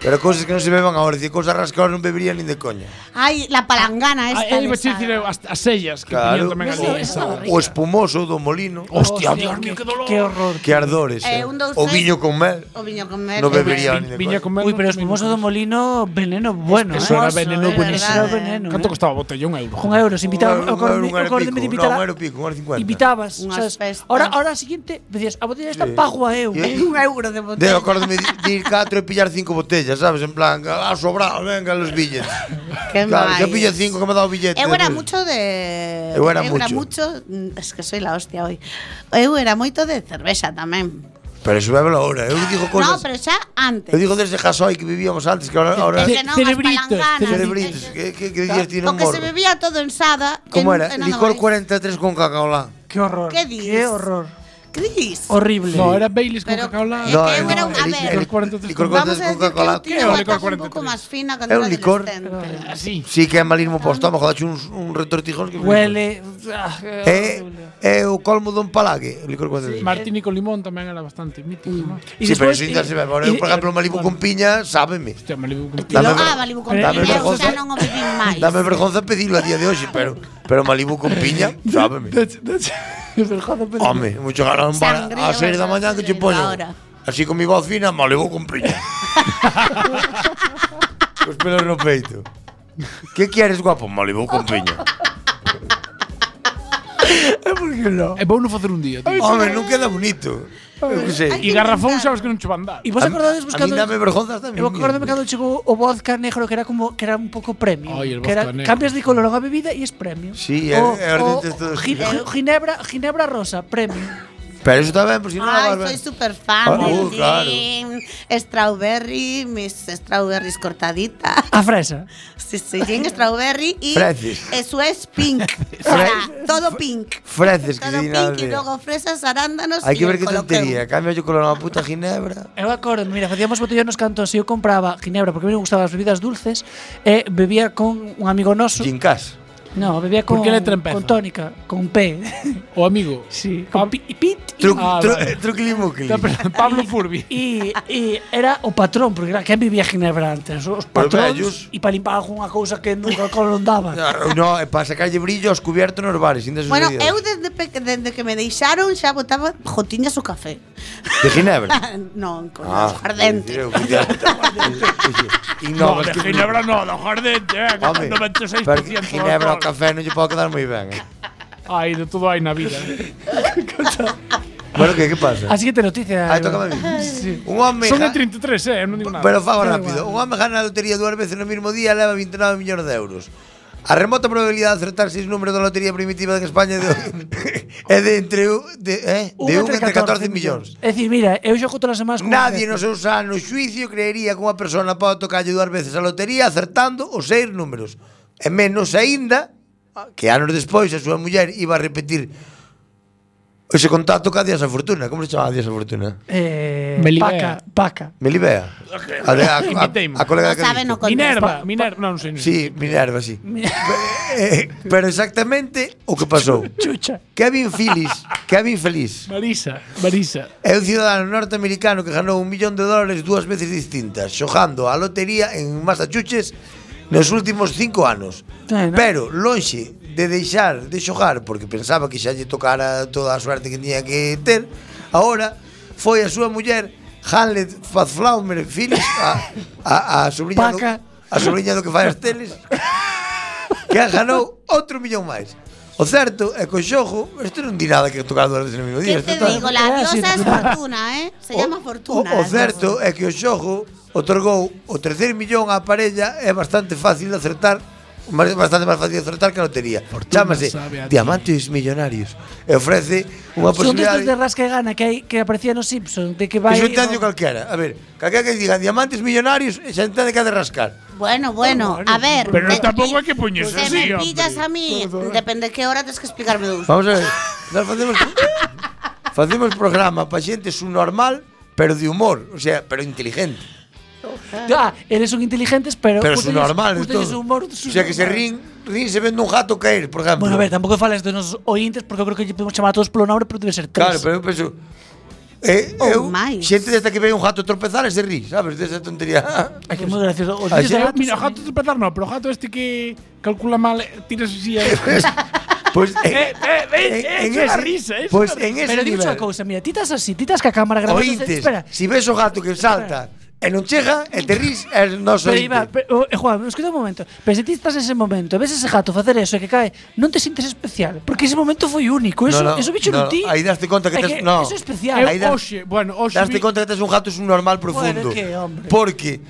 Pero cousas que non se beban ahora, dicir cousas rascadas non bebería nin de coña. Ay, la palangana esta. Ah, Eu de vou sal. dicir eu, as, as sellas que Claro. claro. tamén ali. O espumoso do molino. Hostia, Dios mío, que dolor. Qué horror. Que ardores. eh. Eh, un, dos, O tres. viño con mel. O viño con mel. No que bebería bueno. ni de coña. Viña con mel. Uy, pero espumoso do molino, veneno bueno, eh. Eso era Hermoso, veneno es buenísimo. verdad, eh. veneno, Canto eh. costaba a botella? Un euro. Con euros, Un invitaban. euro, o corme- un o euro corme pico, de no, invitar a- un euro pico, un euro cincuenta. Invitabas, Unhas ¿sabes? festas. Ahora, ahora siguiente decías, "Ah, a botella esta eh". Sí. pago a eu. Sí. Un euro de De botella. acórdome de de ir catro e pillar cinco botellas, sabes? En plan, ah, sobrado, venga, los billetes. Qué Claro, yo maíz. pillo cinco que me ha dado pues. billete. Eu era despois. mucho de... Eu era mucho. mucho. mm, Es que soy la hostia hoy. Eu era moito de cerveza tamén. Pero eso bébelo ahora. Eu digo No, cosas. pero xa antes. Eu digo desde Jasoi que vivíamos antes, que ahora... ahora Ese non, as Cerebritos, palanganas. eh, Cerebritos, que, que, que días tiene un Porque se morro. bebía todo en sada. ¿Cómo en- era? en Licor Anois. 43 con cacaolá. Qué horror. ¿Qué Qué dices? horror. ¿Qué dices? Horrible. No, era Baileys con Pero- Coca-Cola. Eh, que era un- a el- ver. el- Licor 43 licor con- 43 con Vamos a decir que eu Coca-Cola. tiña ¿Qué unha era? taza un Licor pouco 43. máis fina Era cando un era licor. adolescente. Así. Sí que é malismo para o estómago, dache uns, un retortijón que... Huele. ah, É, horrible. é o colmo dun palague, o licor 43. Martini con limón tamén era bastante mítico. ¿no? Y eh, Sí, pero después- sin darse bebe. Ahora, eu, eh, por exemplo, Malibu con piña, sábeme. Hostia, me lo E lo- Dame Ah, ver- valibu con dame piña, eu vergonza. xa non o vivín máis. Dame vergonza pedilo a día de hoxe, pero pero Malibu con piña, sábeme. Home, mucho ganaron para Sangría, a seis da verdad, mañá que che sí, poño. ahora. Así con mi voz fina, Malibu con piña. Cos pelos no peito. Que quieres, guapo? Malibu con piña. É bueno facer un día, tío. Home, non queda bonito. Eu que sei. E garrafón sabes que non che van dar. ¿Y vos acordades A mí buscando? dame vergonza hasta a mí Eu acordome mismo. cando chegou o vodka negro que era como que era un pouco premium, Ai, el que era vodka negro. cambias de color a bebida e es premium. Sí, eh, é- é o, ardente esto. gi- eh, Ginebra, Ginebra rosa, premium. Pero eso está ben, por si non Ay, lavas soy ben. súper fan Ah, uh, del claro. gin, strawberry, mis strawberries cortaditas. A fresa. Sí, sí, gin, strawberry y Freces. eso es pink. O sea, todo pink. Freces que Todo se di nada. pink y luego fresas, arándanos Hay y que ver el qué coloqueo. tontería. Cambio yo color a una puta ginebra. Eu acordo, mira, facíamos botellones cantos e eu compraba Ginebra porque a mí me gustaban as bebidas dulces e bebía con un amigo noso. Gin Cash. No, bebía Por con, que letra empeza? con tónica, con P. O amigo. sí, con pi, y pit. Tru, Ah, tru, vale. Truquilimuquili. Está Pero, pe- Pablo Furbi. E, e era o patrón, porque era quen vivía Ginebra antes, os Os patróns vellos. e para limpar algunha cousa que nunca alcohol non daba. No, é para sacarlle brillo aos cubiertos nos bares, ainda Bueno, sucedido. eu desde, pe- desde que me deixaron xa botaba jotiñas o café. De Ginebra. non, con Ah, ardente. eu que te- Innovas que- no, do jardente, eh, que Home, pero Ginebra ao café non lle pode quedar moi ben. eh. Ai, de todo hai na vida. Bueno, que que pasa? A siguiente noticia. Ai, tócame a mí. Un home Son de ja- 33, eh, non digo nada. Pero fago rápido. Un home gana a lotería dúas veces no mismo día e leva 29 millóns de euros. A remota probabilidade de acertar seis números da lotería primitiva de España de é de entre u- de, eh, de un entre 14 millóns. É dicir, mira, eu xogo todas as semanas con Nadie un no seu sano xuicio creería que unha persona pode tocarlle dúas veces a lotería acertando os seis números. E menos aínda que anos despois a súa muller iba a repetir Ese contacto que a Díaz a Fortuna. Como se chamaba a Díaz a Fortuna? Eh, Melibea. paca, paca. Melibea. A, de- a, a, a colega No de Calixto. sabe, no contesta. Minerva, Minerva, non, sei. Sí, Minerva, sí. Eh, pero exactamente o que pasou. Chucha. Kevin Phillips, Kevin Feliz, Marisa, Marisa. é un ciudadano norteamericano que ganou un millón de dólares dúas veces distintas, xogando a lotería en Massachusetts nos últimos cinco anos. Bueno. Pero, lonxe de deixar de xogar, porque pensaba que xa lle tocara toda a suerte que tiña que ter, ahora foi a súa muller Hanlet Fazflaumer Phillips, a, a, a sobrinha do, Paca. a sobrinha do que fai as teles, que a ganou outro millón máis. O certo é que o xogo, isto non di nada que tocar dúas veces no mismo día. ¿Qué te isto está- digo? La Ah, sí, diosa es total. fortuna, ¿eh? Se llama O, fortuna. eh. o la diosa. certo é que o xogo otorgou o terceiro millón á parella é bastante fácil de acertar mas- bastante máis fácil de acertar que a lotería. Chámase sabe a ti. Diamantes Millonarios e ofrece unha Son destes de posibilidade rasca e gana que, hai, que aparecía no Simpson de que vai... que se entende calquera. A ver, calquera que diga Diamantes Millonarios e se entende que ha de rascar. Bueno, bueno, a ver. Pero te- tampoco hay que puñes Te así, me hombre. pillas a mí. Depende de qué hora tienes que explicarme dos. Vamos a ver, nós facemos facemos programa para xente subnormal, pero de humor, o sea, pero inteligente. Ah, eres un inteligentes, pero... Pero ustedes- subnormal, de ustedes todo. humor o sea, que se subnormal. rin, rin se vende un gato caer, por exemplo. Bueno, a ver, tampouco fales dos nosos ointes porque eu creo que lle podemos chamar a todos polo nombre, pero debe ser Claro, tres. pero eu penso Eh, Ou eu, máis. xente desta que ve un gato tropezar e se ri, sabes, desa tontería. É que é moi gracioso. Os Ah, vídeos sí? de Eh, gatos... Mira, o son- gato de petar no, pero o gato este que calcula mal, eh, tiras así aí. Pois Eh, eh, eh, eh, é unha ese- risa, é Pois unha en ese Pero dime nivel. unha cousa, mira, ti estás así, ti estás ca cámara grabando... Ointes, Espera, si ves o gato que salta e non chega, e te ris, é nos Pero Iba, ointe. pero, eh, Juan, escuta un momento. Pero se ti estás nese momento, ves ese gato facer eso e que cae, non te sintes especial, porque ese momento foi único, eso, No, no, eso bicho no, non ti. aí daste conta que É tes- no. Eso é especial. Eu Aí da- hoxe, Eh, bueno, hoxe Daste vi- conta que tes un gato subnormal profundo. Bueno, que hombre. porque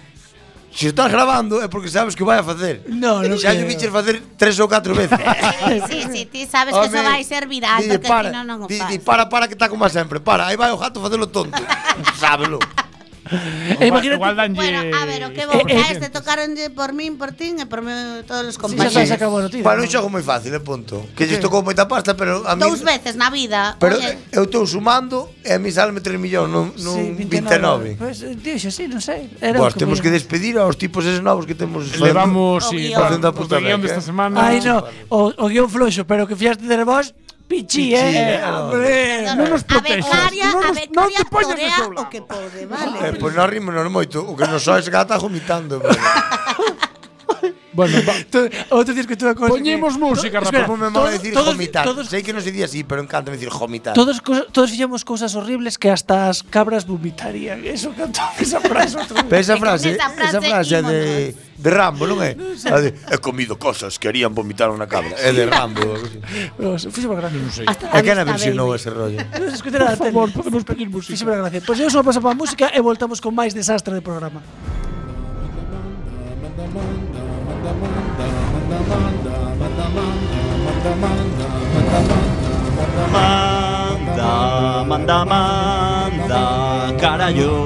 se o estás grabando é porque sabes que o vai a facer. No, no Xa lle creo. viches facer tres ou catro veces. Sí, sí, sí, ti sabes que eso va a ser viral, Dille, porque para, si no, no lo Dille, pasa. para, para, que está como sempre. Para, aí vai o gato facelo tonto. Sábelo. Igual- Eh, imagínate- igual danlle- Bueno, a ver, o que vos Eh, eh, te tocaron de por min, por ti e por mí, todos os Sí, xa se compañeros. acabou a noticia. Bueno, un non? xogo moi fácil, é punto. Que lles tocou moita pasta, pero a mí... Dos veces na vida. Pero eh, oye. eu estou sumando e a mí salme 3 millóns, non, non Sí, 29. Pois, eh, dixo, sí, non sei. Era Pois o temos que mira. despedir aos tipos eses novos que temos. Levamos, O sí, guión. bueno, Facendo a puta o guión beca, desta eh. semana. Ai, no, o, o guión floxo, pero que fiaste de vos, pichi, eh. Hombre. Perdón, non nos a protexas, becaria, non a nos- non becaria te poñas de torea seu o lado. que pode, vale? Eh, pois non rimo non moito, o que non sois que está vomitando. pero- Bueno, va, Outro día escutou a cosa. Poñemos música, Pues, eh, Espera, rapaz. Como me mola todo- decir todos- vomitar. todos- Sei que non se di así, pero encanta decir vomitar. Todos, cos- todos fixemos cousas horribles que hasta as cabras vomitarían. Eso cantou esa frase outro día. Pero esa E con frase, esa esa frase frase, é ímonos. de, de Rambo, non é? A de, he comido cosas que harían vomitar a unha cabra. É de Rambo. algo así. Pero se fixo gracia. Non sei. Hasta A la que na vista, versionou baby. ese rollo? Non se escutera a por tele. favor, podemos poñer música. Fíxeme gracia. Pois eu só paso para a música e voltamos con máis desastre de programa. Manda, manda, manda, carallo.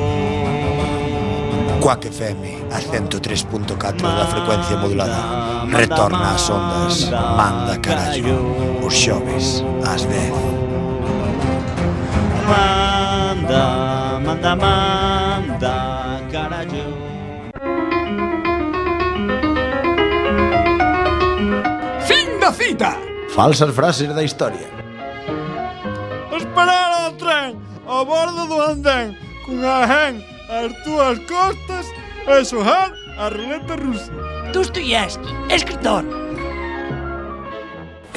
Quack FM, a 103.4 da frecuencia modulada. Manda, Retorna ás ondas, manda, manda carallo. carallo. Os xoves, ás 10. Manda, manda, manda, carallo. Falsas frases da historia. esperar ao tren ao bordo do andén cunha gen as túas costas e sojar a ruleta rusa. Dostoyevsky, escritor.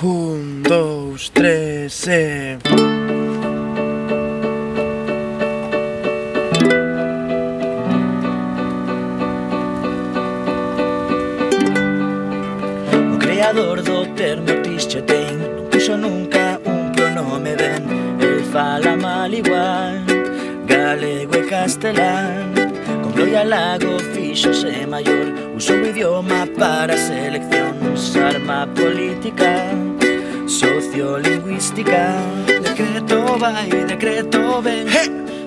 Un, dos, tres, e... O creador do termo Tischotein Non puxo nunca un pronome ben El fala mal igual Galego e castelán Con gloria lago fixose maior Usou o idioma para a selección Arma política Sociolingüística Decreto va y decreto ven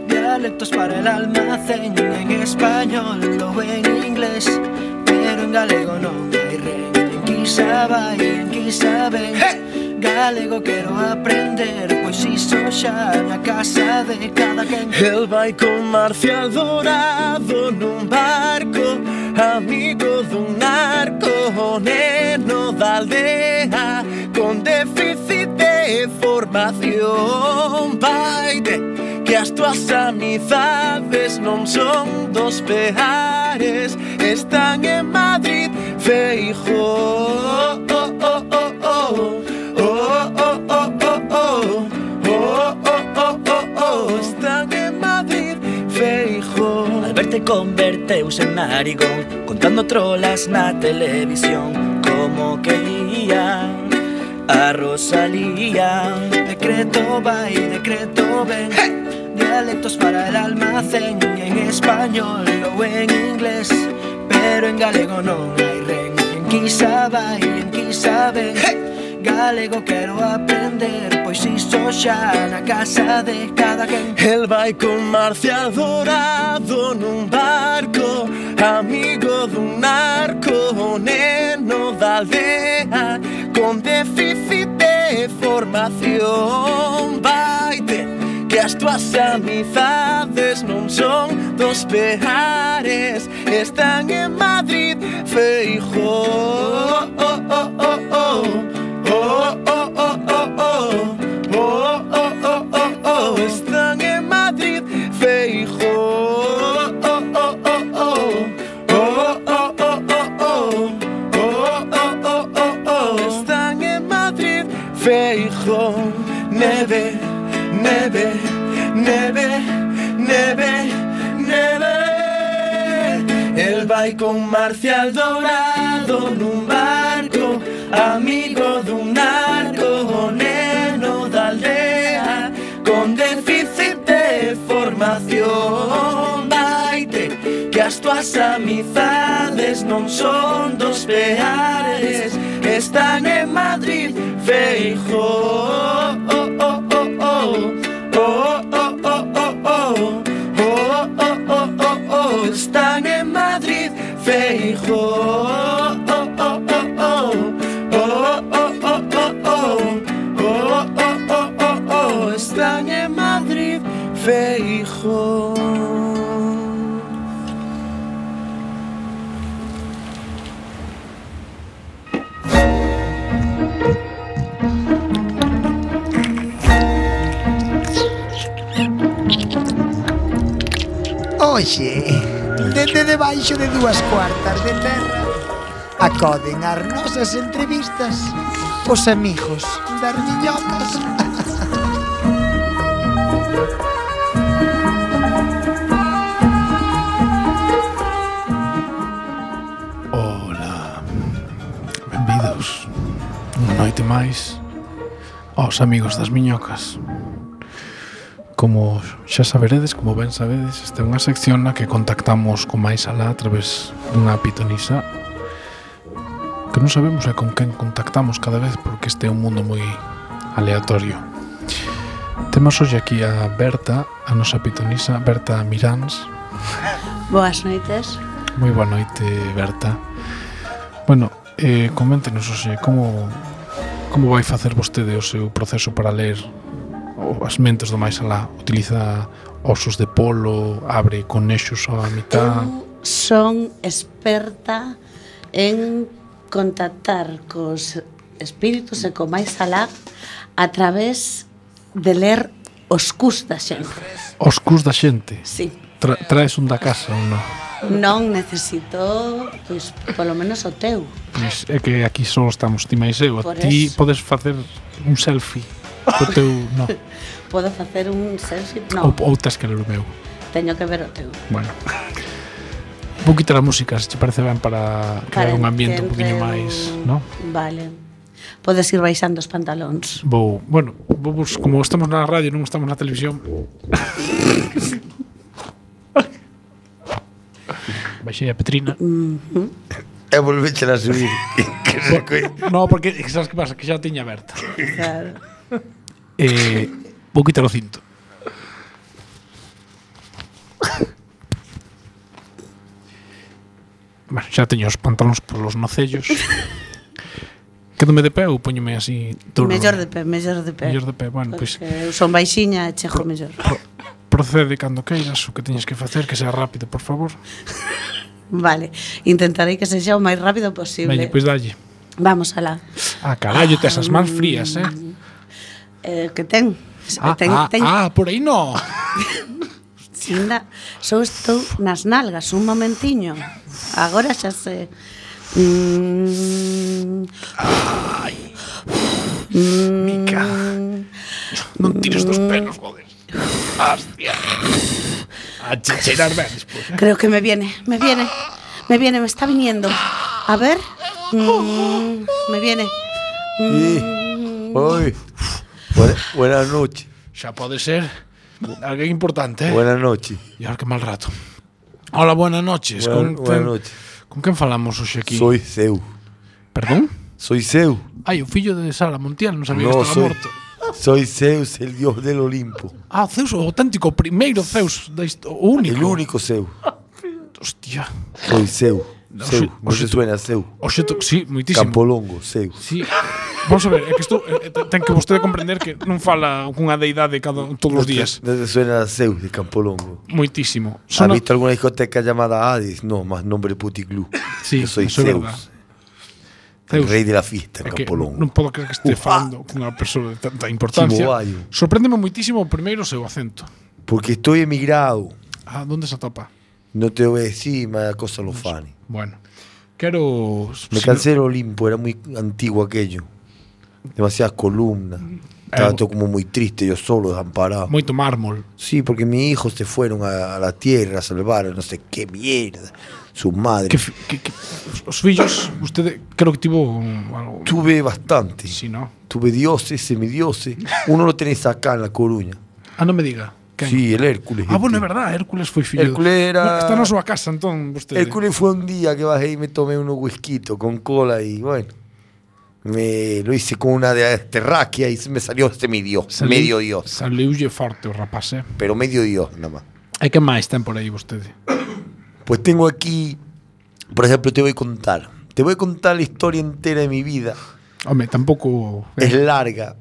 Dialectos para el almacén En español o en inglés Pero en galego pues non hai ren En quizá vai, en quizá ven galego quero aprender Pois iso xa na casa de cada quen El vai con Marcial Dorado nun barco Amigo dun narco o neno da aldea Con déficit de formación Vai de que as tuas amizades non son dos peares Están en Madrid, Oh, Feijóo oh, Alberte converteuse en narigón Contando trolas na televisión Como que ía a Rosalía Decreto va y decreto ven Dialectos para el almacén En español o en inglés Pero en galego non hai ren En quizá vai, en quizá ven galego quero aprender Pois iso xa na casa de cada quen El vai con Marcial Dorado nun barco Amigo dun narco O neno da aldea Con déficit de formación Vaite que as tuas amizades non son dos peares Están en Madrid, Feijóo Oh, oh, oh, oh, oh. Oh, oh, oh, oh, oh. Están en Madrid, Feijóo. Oh, oh, oh, oh. Oh, oh, oh, oh, oh. Oh, oh, oh, oh, oh. Están en Madrid, Feijóo. Neve, neve, neve, neve, neve. El vai con Marcial Dorado nun barco Amigo dun narco o neno da aldea Con déficit de formación Vaite que as tuas amizades non son dos peares Están en Madrid, Feijóo oh, oh, oh, oh. Oh, oh, oh, oh, oh. Oh, oh, oh, oh, oh. Están en Madrid, Feijóo Oh, oh, oh, oh. Oh, oh, oh, oh, oh. Oh, oh, oh, oh, oh. Están en Madrid, Feijóo Hoxe, dende debaixo de dúas cuartas de terra Acoden as nosas entrevistas Os amigos das miñocas Ola Benvidos Unha noite máis Aos amigos das miñocas Como xa saberedes, como ben sabedes Esta é unha sección na que contactamos con máis alá A través dunha pitonisa Que non sabemos é con quen contactamos cada vez Porque este é un mundo moi aleatorio Temos hoxe aquí a Berta, a nosa pitonisa Berta Miráns Boas noites. Moi boa noite, Berta. Bueno, eh, coméntenos, oxe, como como vai facer vostede o seu proceso para ler o- as mentes do máis alá? Utiliza osos de polo, abre con eixos a mitad... Son experta en contactar cos espíritus e co máis alá a través de ler os cus da xente. Os cus da xente. Sí. Tra, traes un da casa, ou non? Non necesito, pois, polo menos o teu. Pois é que aquí só estamos ti máis eu. Por Ti eso. podes facer un selfie co teu... No. Podo facer un selfie? Ou, Non, ou tes que ler o meu. teño que ver o teu. Bueno. Vou quitar a música, se te parece ben para crear un ambiente un poquinho máis, no? Vale. Podes ir baixando os pantalóns. Vou, bueno, vou, bus- como estamos na radio, non estamos na televisión. Baixei a Petrina. E volveche a subir. que se coi- No, porque sabes que pasa? Que xa a tiña aberta. Claro. Eh, vou quitar o cinto. Bueno, xa teño os pantalóns por los nocellos. Quédome de pé ou poñome así duro? Mellor de pé, mellor de pé. Mellor de pé, bueno, pois- Porque eu son baixiña e chego mellor. Procede cando queiras o que teñes que facer, que sea rápido, por favor. Vale, intentarei que sexa o máis rápido posible. Veña, pois dalle. Vamos alá. Ah, carallo, tes as mans frías, eh? Eh, que ten? Ah, ten, ah, ah, por aí no. Sinda, só estou nas nalgas un momentiño. Agora xa se Mm. Ai. Mica. Non tires dos pelos, joder. Hostia. A chicherar ben despois. Creo que me viene, me viene. Me viene, me está viniendo. A ver. Mm, me viene. Y- Uy. Buena- buenas noches. Xa pode ser alguén importante, eh? Buenas noches. E ahora que mal rato. Hola, buenas noches. Buena- con, buenas noches. Con quen falamos hoxe aquí? Soy Seu. ¿Perdón? Soy Seu. Ai, o fillo de Sara Montiel, non sabía que estaba soy, morto. soy Zeus, el dios del Olimpo. Ah, Zeus, o auténtico primeiro Zeus, da histo- o único. El único Zeus. Hostia. Soy Zeus. Zeus. oxe- No se suena Zeus. Oxe, to- sí, moitísimo. Campolongo, Zeus. Sí. Vamos a ver, é que estou, eh, eh, ten que vostede comprender que non fala cunha deidade cada, todos os días. No se suena Zeus de Campolongo. Moitísimo. ¿Has Sona- visto alguna discoteca llamada Hades? No, más nombre puticlub. Sí, Yo soy eso es Zeus. verdad. El Zeus. rey de la fiesta, É que Campolongo. non podo creer que este Ufa. falando cunha persoa de tanta importancia. Chimoballo. Sorpréndeme moitísimo o primeiro o seu acento. Porque estoy emigrado. Ah, onde se atopa? No te voy a decir, me da cosa los fans. Bueno. Quero Me si cansé del Olimpo, era muy antiguo aquello. Demasiadas columnas. Estaba Eh, todo como muy triste, yo solo, desamparado. no- moito mármol. Sí, porque mis hijos se fueron a, a la tierra a salvar, no sé qué mierda. Sus madres. Que, fi- que, que, os- os fillos, usted creo que tivo un- algo. Tuve bastante. Si no. Tuve dioses, semidioses. Uno lo tenés acá en La Coruña. Ah, non me diga. Quen? Sí, el Hércules. este. Ah, bueno, é verdad, Hércules foi fillo. Hércules era- Bueno, Está na súa casa, entón, vostede. Hércules fue un día que bajé y me tomé unos whiskitos con cola y bueno. Me lo hice con una de terráquea y me salió semidios, Saliu- medio dios. Saliulle forte o rapaz, eh? Pero medio dios nada más. E que máis ten por aí vostede? Pues tengo aquí, por ejemplo, te voy a contar. Te voy a contar la historia entera de mi vida. Home, tampouco eh, Es larga,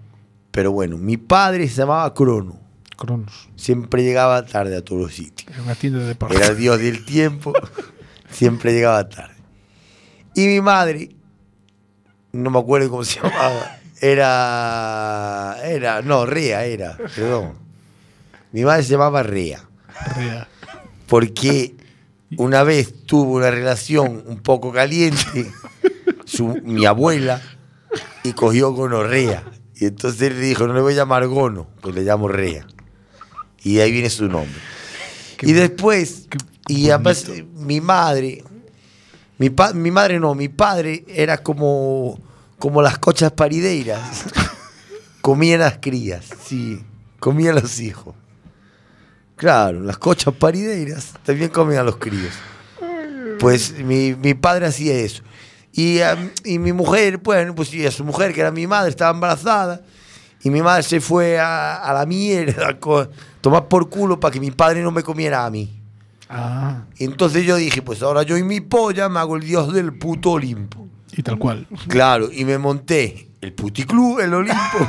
pero bueno, mi padre se llamaba Crono. Cronos. Siempre llegaba tarde a todos los sitios. é unha tienda de deportes. Era el dios del tiempo. Siempre llegaba tarde. Y mi madre, no me acuerdo cómo se llamaba, era. Era. No, Rea era, perdón. Mi madre se llamaba Rea. Rea. Porque una vez tuvo una relación un poco caliente, su- mi abuela, y cogió gonorrea. Y entonces le dijo, no le voy a llamar gono, pues le llamo rea. Y de ahí viene su nombre. y después, y además, mi madre, mi, pa- mi madre no, mi padre era como, como las cochas parideiras. Comían las crías, sí, comían los hijos. Claro, las cochas parideiras también comen a los críos. Pues mi, mi padre hacía eso. Y, am, y mi mujer, bueno, pues sí, a su mujer, que era mi madre, estaba embarazada. Y mi madre se fue a, a la mierda, co- tomar por culo para que mi padre no me comiera a mí. Ah, Y entonces yo dije, pues ahora yo y mi polla me hago el dios del puto Olimpo. y tal cual. Claro, y me monté el puticlub, el Olimpo.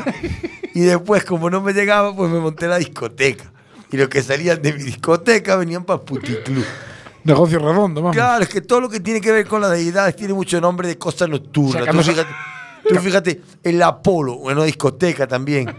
y después, como no me llegaba, pues me monté la discoteca. Y los que salían de mi discoteca venían para el puticlub. Negocio redondo, vamos. Claro, es que todo lo que tiene que ver con las deidades tiene mucho nombre de cosas nocturnas. O tú, sea, que no- fíjate, tú fíjate, el Apolo, una discoteca también.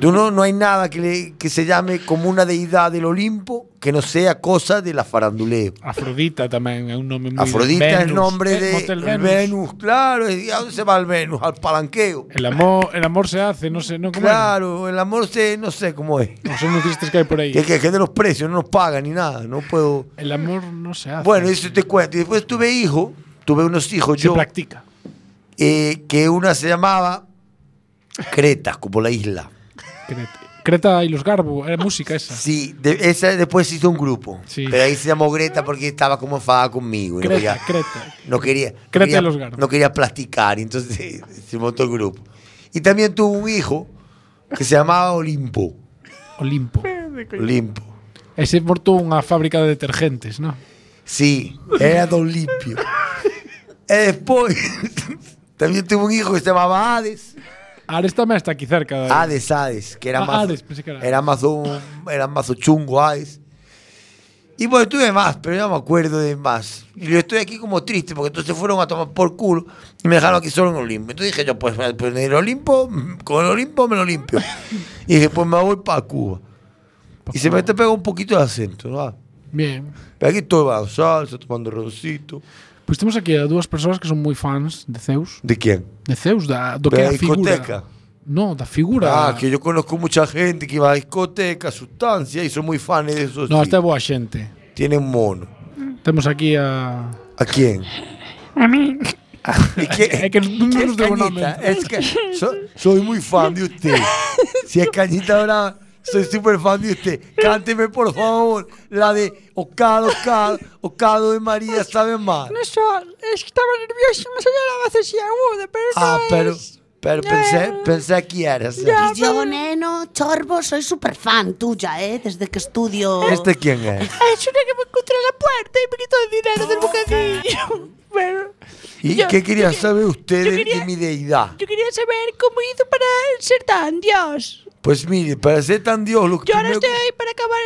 Tú no, no hay nada que, le- que se llame como una deidad del Olimpo que no sea cosa de la faranduleo. Afrodita tamén é un nome moi Afrodita es Venus. nombre Eh, de Motel el Venus. Venus, claro. ¿Y a dónde se va el Venus? Al palanqueo. El amor, el amor se hace, no sé, no como Claro, el amor se, no sé cómo es. No son unos tristes que hay por ahí. Que, que, que de los precios no nos pagan ni nada, no puedo. El amor no se hace. Bueno, eso te cuento. Y después tuve hijo, tuve unos hijos se yo, practica. eh, que una se llamaba Creta, como la isla. Creta, Creta y los Garbo, era música esa. Sí, de- esa después hizo un grupo. Sí. Pero ahí se llamó Greta porque estaba como enfadada conmigo. y no Creta, quería- Creta. No quería, no Creta quería, y los Garbo. no quería plasticar, y entonces se montó el grupo. Y también tuvo un hijo que se llamaba Olimpo. Olimpo. Olimpo. Ese morto unha fábrica de detergentes, ¿no? Sí, era Don Limpio. E despois Eh, También tuve un hijo que se llamaba Hades. Hades también está aquí cerca. Hades, Hades, que era Ah, mazo. Hades, pensé que era. era mazo, era mazo chungo Hades. Y bueno, tuve más, pero ya no me acuerdo de más. Y yo estoy aquí como triste, porque entonces fueron a tomar por culo y me dejaron aquí solo en Olimpo. Entonces dije yo, pues, pues en el Olimpo, mm, con el Olimpo me lo limpio. y dije, pues me voy para Cuba. y se me te pega un poquito de acento, ¿no? Ah, Bien. Pero aquí estoy bajo salsa, tomando roncito. Pois temos aquí a dúas persoas que son moi fans de Zeus. ¿De quién? De Zeus, da, do De que é la a figura. discoteca. No, da figura. Ah, que yo conozco mucha gente que va a discotecas, sustancias, y son muy fans de esos. tipos. No, esta é boa xente. Tiene un mono. Temos aquí a... ¿A quién? Ah, A mí. É que non nos deu o nome. Es que so- soy muy fan de usted. Si es Cañita Brava, soy súper fan de usted. Cánteme, por favor, la de Ocado, Ocado, Ocado de María sabe más. No es sol, es que estaba nervioso, me salió la voz así aguda, pero Ah, no pero, es. pero pensé, pensé que eras. Y yo, neno, chorbo, soy súper fan tuya, ¿eh? Desde que estudio. ¿Este quién es? Es una que me encontré en la puerta y me quitó el dinero del bocadillo. Pero ¿Y Yo- qué quería saber usted yo de- de quería- mi deidad? yo quería saber cómo hizo para ser tan Dios. Pues mire, para ser tan Dios, lo que Yo ahora primero- estoy para acabar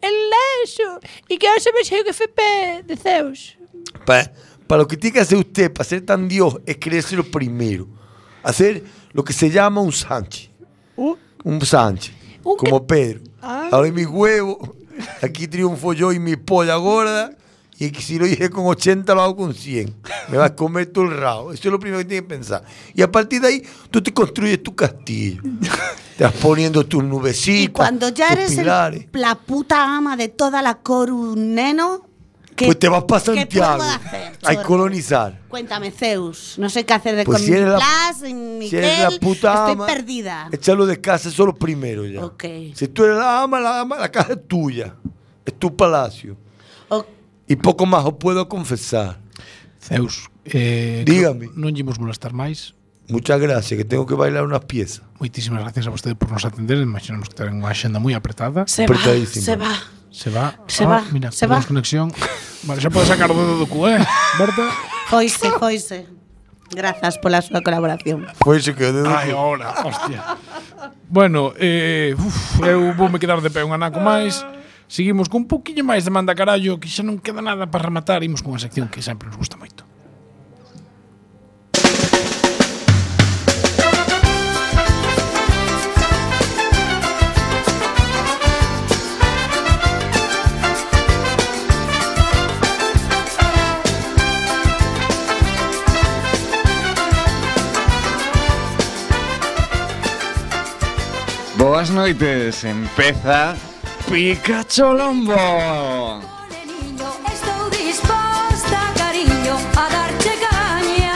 el, el eso y quiero saber si hay un FP de Zeus. Para, para lo que tiene que hacer usted, para ser tan Dios, es creerse lo primero. Hacer lo que se llama un Sánchez. Un Sánchez. como Pedro. Ah. Ahora mi huevo. Aquí triunfo yo y mi polla gorda. Y que si lo dije con 80, lo hago con 100. Me vas a comer todo el rabo. Eso es lo primero que tienes que pensar. Y a partir de ahí, tú te construyes tu castillo. te vas poniendo tus nubecitas. Cuando ya tus eres el- pilares. la puta ama de toda la coru, neno. ¿qué- Pues te vas para qué Santiago. puedo hacer, A chorro? colonizar. Cuéntame, Zeus. No sé qué hacer de Pues con si mi eres la- Blas, en si eres la Miguel, puta Estoy ama. perdida. Echarlo de casa, eso es lo primero ya. Ok. Si tú eres la ama, la ama, la casa es tuya. Es tu palacio. Ok. Y poco más os puedo confesar. Zeus, eh, Dígame. Non llemos molestar máis. Muchas gracias, que tengo que bailar unas piezas. Moitísimas gracias a vostede por nos atender. Imaginamos que ten unha xenda moi apretada. Se va, Apretadísima. se va. Se va. Se ah, va, Mira, se temos va. conexión. Vale, xa podes sacar o dedo do cu, eh? Berta. Foise, foise. Gracias por la súa colaboración. Foi iso que o dedo. Ai, ahora, hostia. Bueno, eh, uf, eu voume quedar de pé un anaco máis. Seguimos con un poquinho máis de manda carallo, que xa non queda nada para rematar. Imos con unha sección que sempre nos gusta moito. Boas noites, empeza Pikachu Lombo. Estou disposta, cariño, a darche caña.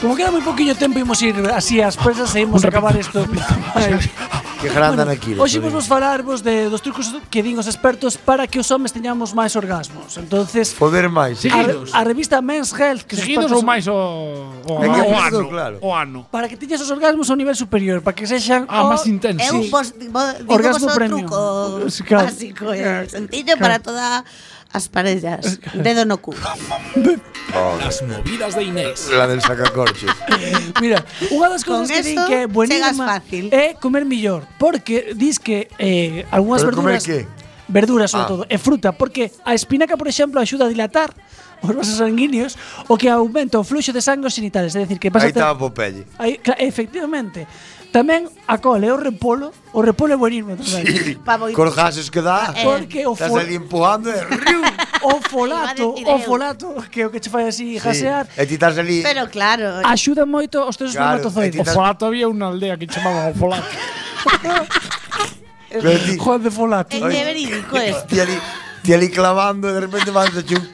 Como queda muy poquillo tiempo, íbamos a ir así a las presas e íbamos a acabar esto. Que grande Anaquiles. Hoxe vamos falarvos de, dos trucos que din os expertos para que os homes teñamos máis orgasmos. Entonces, Poder máis. a, a revista Men's Health que os Seguidos expertos- ou máis o, o, É que é o ano? preciso, pues claro. O ano. Para que teñas os orgasmos a un nivel superior, para que sexan Ah, o- máis intensos. É un pos, vo, digo Orgasmo vos o premium. truco Sí, claro. básico, Claro, é sencillo para todas as parellas. Dedo no cu. Las movidas de Inés. La del sacacorchos. Mira, unha das Con cousas que din eso que é chegas buenísima fácil. é comer millor, porque dis que eh, algunhas Pero comer verduras que? Verduras, sobre Ah. todo, e fruta, porque a espinaca, por exemplo, axuda a dilatar os vasos sanguíneos o que aumenta o fluxo de sangue aos xenitales, é dicir, que vas Aí a ter- estaba Popeye. Aí, cla- efectivamente. Tamén a col e o repolo, o repolo é buenísimo tamén. Eh. Sí. Corjases que dá. Porque o Estás fol- ali empujando. e- o folato, o Iba a decir eu. folato, que é o que che fai así Sí. jasear, E ti estás ali. Pero claro, axuda moito os teus Claro, espermatozoides. aí ti O Folato había unha aldea que chamaba o Folato. Juan de Folato. é é verídico isto. Ti ali, ti ali clavando e de repente vas a chun.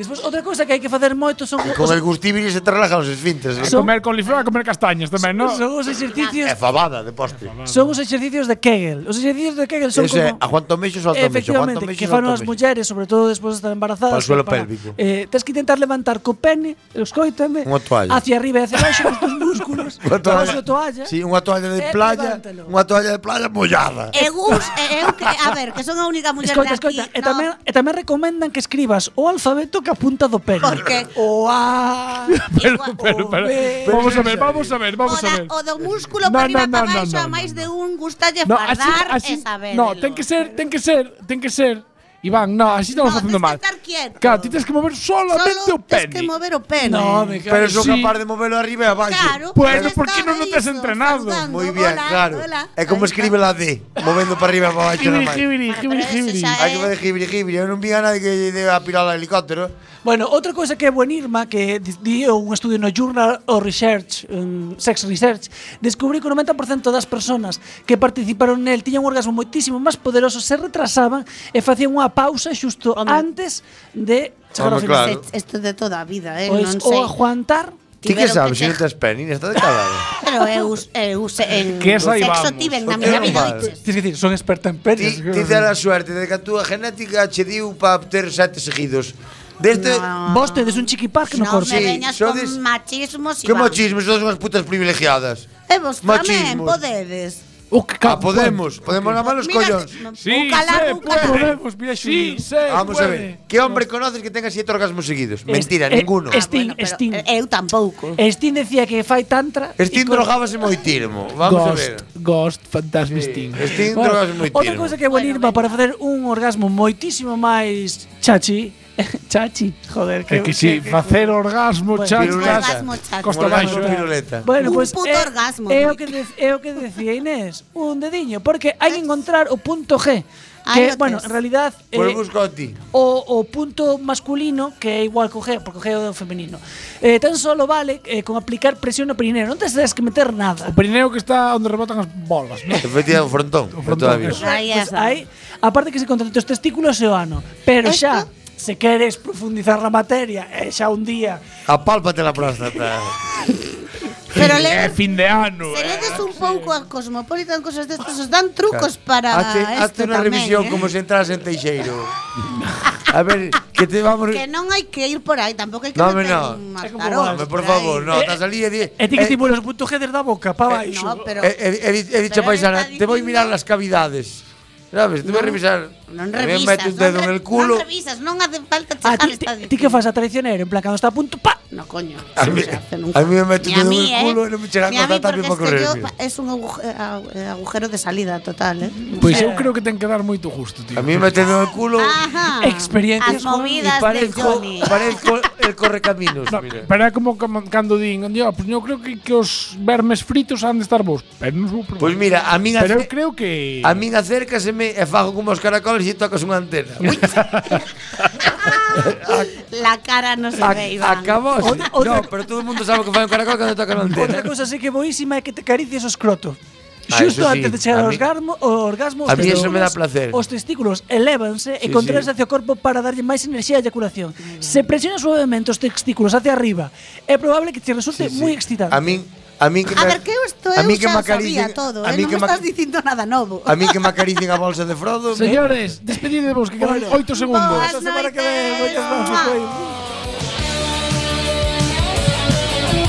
Despois, outra cousa que hai que facer moito son E Con os- el gustíbili se te relajan os esfínteres. ¿eh? A comer coliflor, a comer castañas tamén, non? Son os exercicios É fabada de postre. son os exercicios de Kegel. Os exercicios de Kegel son Ese, como a Juan Tomeixo salta mexo, Juan Efectivamente, Tomeixo que fan salta as mulleres, sobre todo despois de estar embarazadas, Para o suelo que para- pélvico. Eh, tens que intentar levantar co pene, escoítame, Unha toalla. hacia arriba e hacia baixo, cos teus minúsculos, tomas unha toalla. Sí, unha toalla de e playa, levántalo. unha toalla de playa mollada. Eu, eu, que, a ver, que son a única muller Escoita, de aquí. escoita, e tamén, e tamén recomendan que escribas o alfabeto que apunta do pene. Porque O A, Pero, pero, pero, Pero vamos a ver, vamos a ver, vamos o, a da, ver. o do No, músculo para arriba no, para no, no, baixo no, a no, máis de un gustalle No, así, fardar así, e saber. no, ten que ser, ten que ser, ten que ser. Iván, no, así estamos facendo mal. quieto. Claro, ti tens que mover solamente Solo o pene. tens que mover o pene. No, me cago Pero en son sí. capaz de moverlo arriba e abaixo. Claro, Bueno, pues ¿por qué estaba no, no te has eso, entrenado? saludando, Muy bien, hola, claro. hola. É Pues como escribe la D, movendo para arriba e para baixo na man. Jibiri, jibiri, jibiri, jibiri. Hai que fazer jibiri, jibiri. Eu non vi a nadie que deba pirar o helicóptero. Bueno, outra cousa que é buenirma que di- dio un estudio no Journal of Research, um, Sex Research, descubriu que o 90% das persoas que participaron nel tiñan un orgasmo moitísimo máis poderoso, se retrasaban e facían unha pausa xusto antes de chegar ao Home, final. claro. Isto de toda a vida, eh, Pois, ou Pues, non oh, sei. aguantar. Ti que Tiveron sabes, que se non che- tes pene, Inés, está de calado. Pero eu, eu se, en Que eso aí sexo vamos. tiven O na miña que vida. vale. oiches. Tens que dicir, son experta Ti, en penes. ti te a suerte de que a túa genética che diu para ter sete seguidos. Deste... No. Vos tedes un chiquipar que no, Non corte. me veñas Sí, con sodes- machismos, Que Iván. machismo, sodes unhas putas privilegiadas. E vos tamén machismos. podedes. O Oh, que Ah, podemos, podemos na malos Mira, collóns. Sí, un se calado, un calado. puede. Podemos, mira, Sí, Xuli. se Vamos a puede. ver, que hombre conoces que tenga siete orgasmos seguidos? Mentira, eh, ninguno. es- Sting, Ah, pero Sting. Eu tampouco. Estín decía que fai tantra. e Estín con- drogábase moitirmo, vamos a ver. Ghost, Ghost, Fantasmic Sting. Estín Bueno, drogábase Outra moitirmo. cousa que é buenirma para facer un orgasmo moitísimo máis chachi. chachi, joder, que, É que si, facer orgasmo, Bueno, chachas, Un orgasmo chato. costa Orgasmo baixo. piruleta. Bueno, Un pues puto é- orgasmo. É o que de- é o que decía Inés, un dediño, porque hai que encontrar o punto G, Ahí que lo bueno, en tes. realidad eh, Pois Pues busco a ti. o, o punto masculino que é igual co G, porque o G é o femenino. Eh, tan solo vale eh, con aplicar presión no perineo, non tes que meter nada. O perineo que está onde rebotan as bolas, non? Efectivamente, o frontón. O frontón, frontón eso. Aí Pues está. aí, aparte que se contratan os testículos e o ano, pero Esto- xa se queres profundizar na materia, e xa un día Apálpate la próstata. Pero le É fin de ano. Se eh. ledes un pouco a Cosmopolitan cosas destas, os dan trucos para hazte, hazte isto una tamén, revisión eh? como si entras en Teixeiro. a ver, que te vamos. Que non hai que ir por aí, tampouco hai que No, meter no. unhas É como tarolas Hombre, por por aí. favor, no, Eh, te salí e di. E ti que estimulas o punto G desde a boca para baixo. No, pero eh, eh, he di- he dicho a pero paisana, está te voy a dicindo- mirar las cavidades. ¿Sabes? Te voy a revisar. non Me mete revisas, un dedo en non, re- el culo. non revisas, non hace falta Ah, checar ti, esta ti- ti que fas a traicionero, en plan, cando está a punto, pa, No, coño. A eso mí- no se hace nunca. a mí me meto un dedo Ni a en mí, ¿eh? el culo y no me llegan Ni a hasta mí, tapio porque para es que correr, yo mira. es un aguje- a- eh, agujero de salida total, ¿eh? Pois eu Pues creo que ten que dar moito gusto, tío. A mí me tenido en el culo. Ajá. Experiencias As con- movidas y de parezco, Ah, Johnny. parezco el correcaminos. mira. Pero é como cam- cando din, "Yo, pues eu creo que, que os vermes fritos han de estar vos. Pero non vou probar. Pues mira, a mí Pero hace- eu creo que A min acércaseme e fago como os caracoles e tocas unha antena. Ui, La cara no se ve, Iván. acabou. Otra- otra- No, pero todo o mundo sabe que fai un caracol cando toca unha antena. Outra cousa así que boísima é que te caricies o escroto. Ah, eso Xusto sí, antes de chegar a ao mí- orgasmo, o orgasmo a os mí eso me dá testículos- placer. Os testículos elévanse Sí, e contraense sí. hacia o corpo para darlle máis enerxía á eyaculación. Se presionas suavemente os testículos hacia arriba, é probable que te resulte moi excitante. A min a min que me- A ver, que eu esto a eu min que me xa sabía acaricien- todo, a eh? min non que me me estás dicindo nada novo. A min que me acaricien a bolsa de Frodo. me- Señores, despedidevos que quedan 8 segundos. Boas noites. semana que ven, moitas grazas, Bye. pois.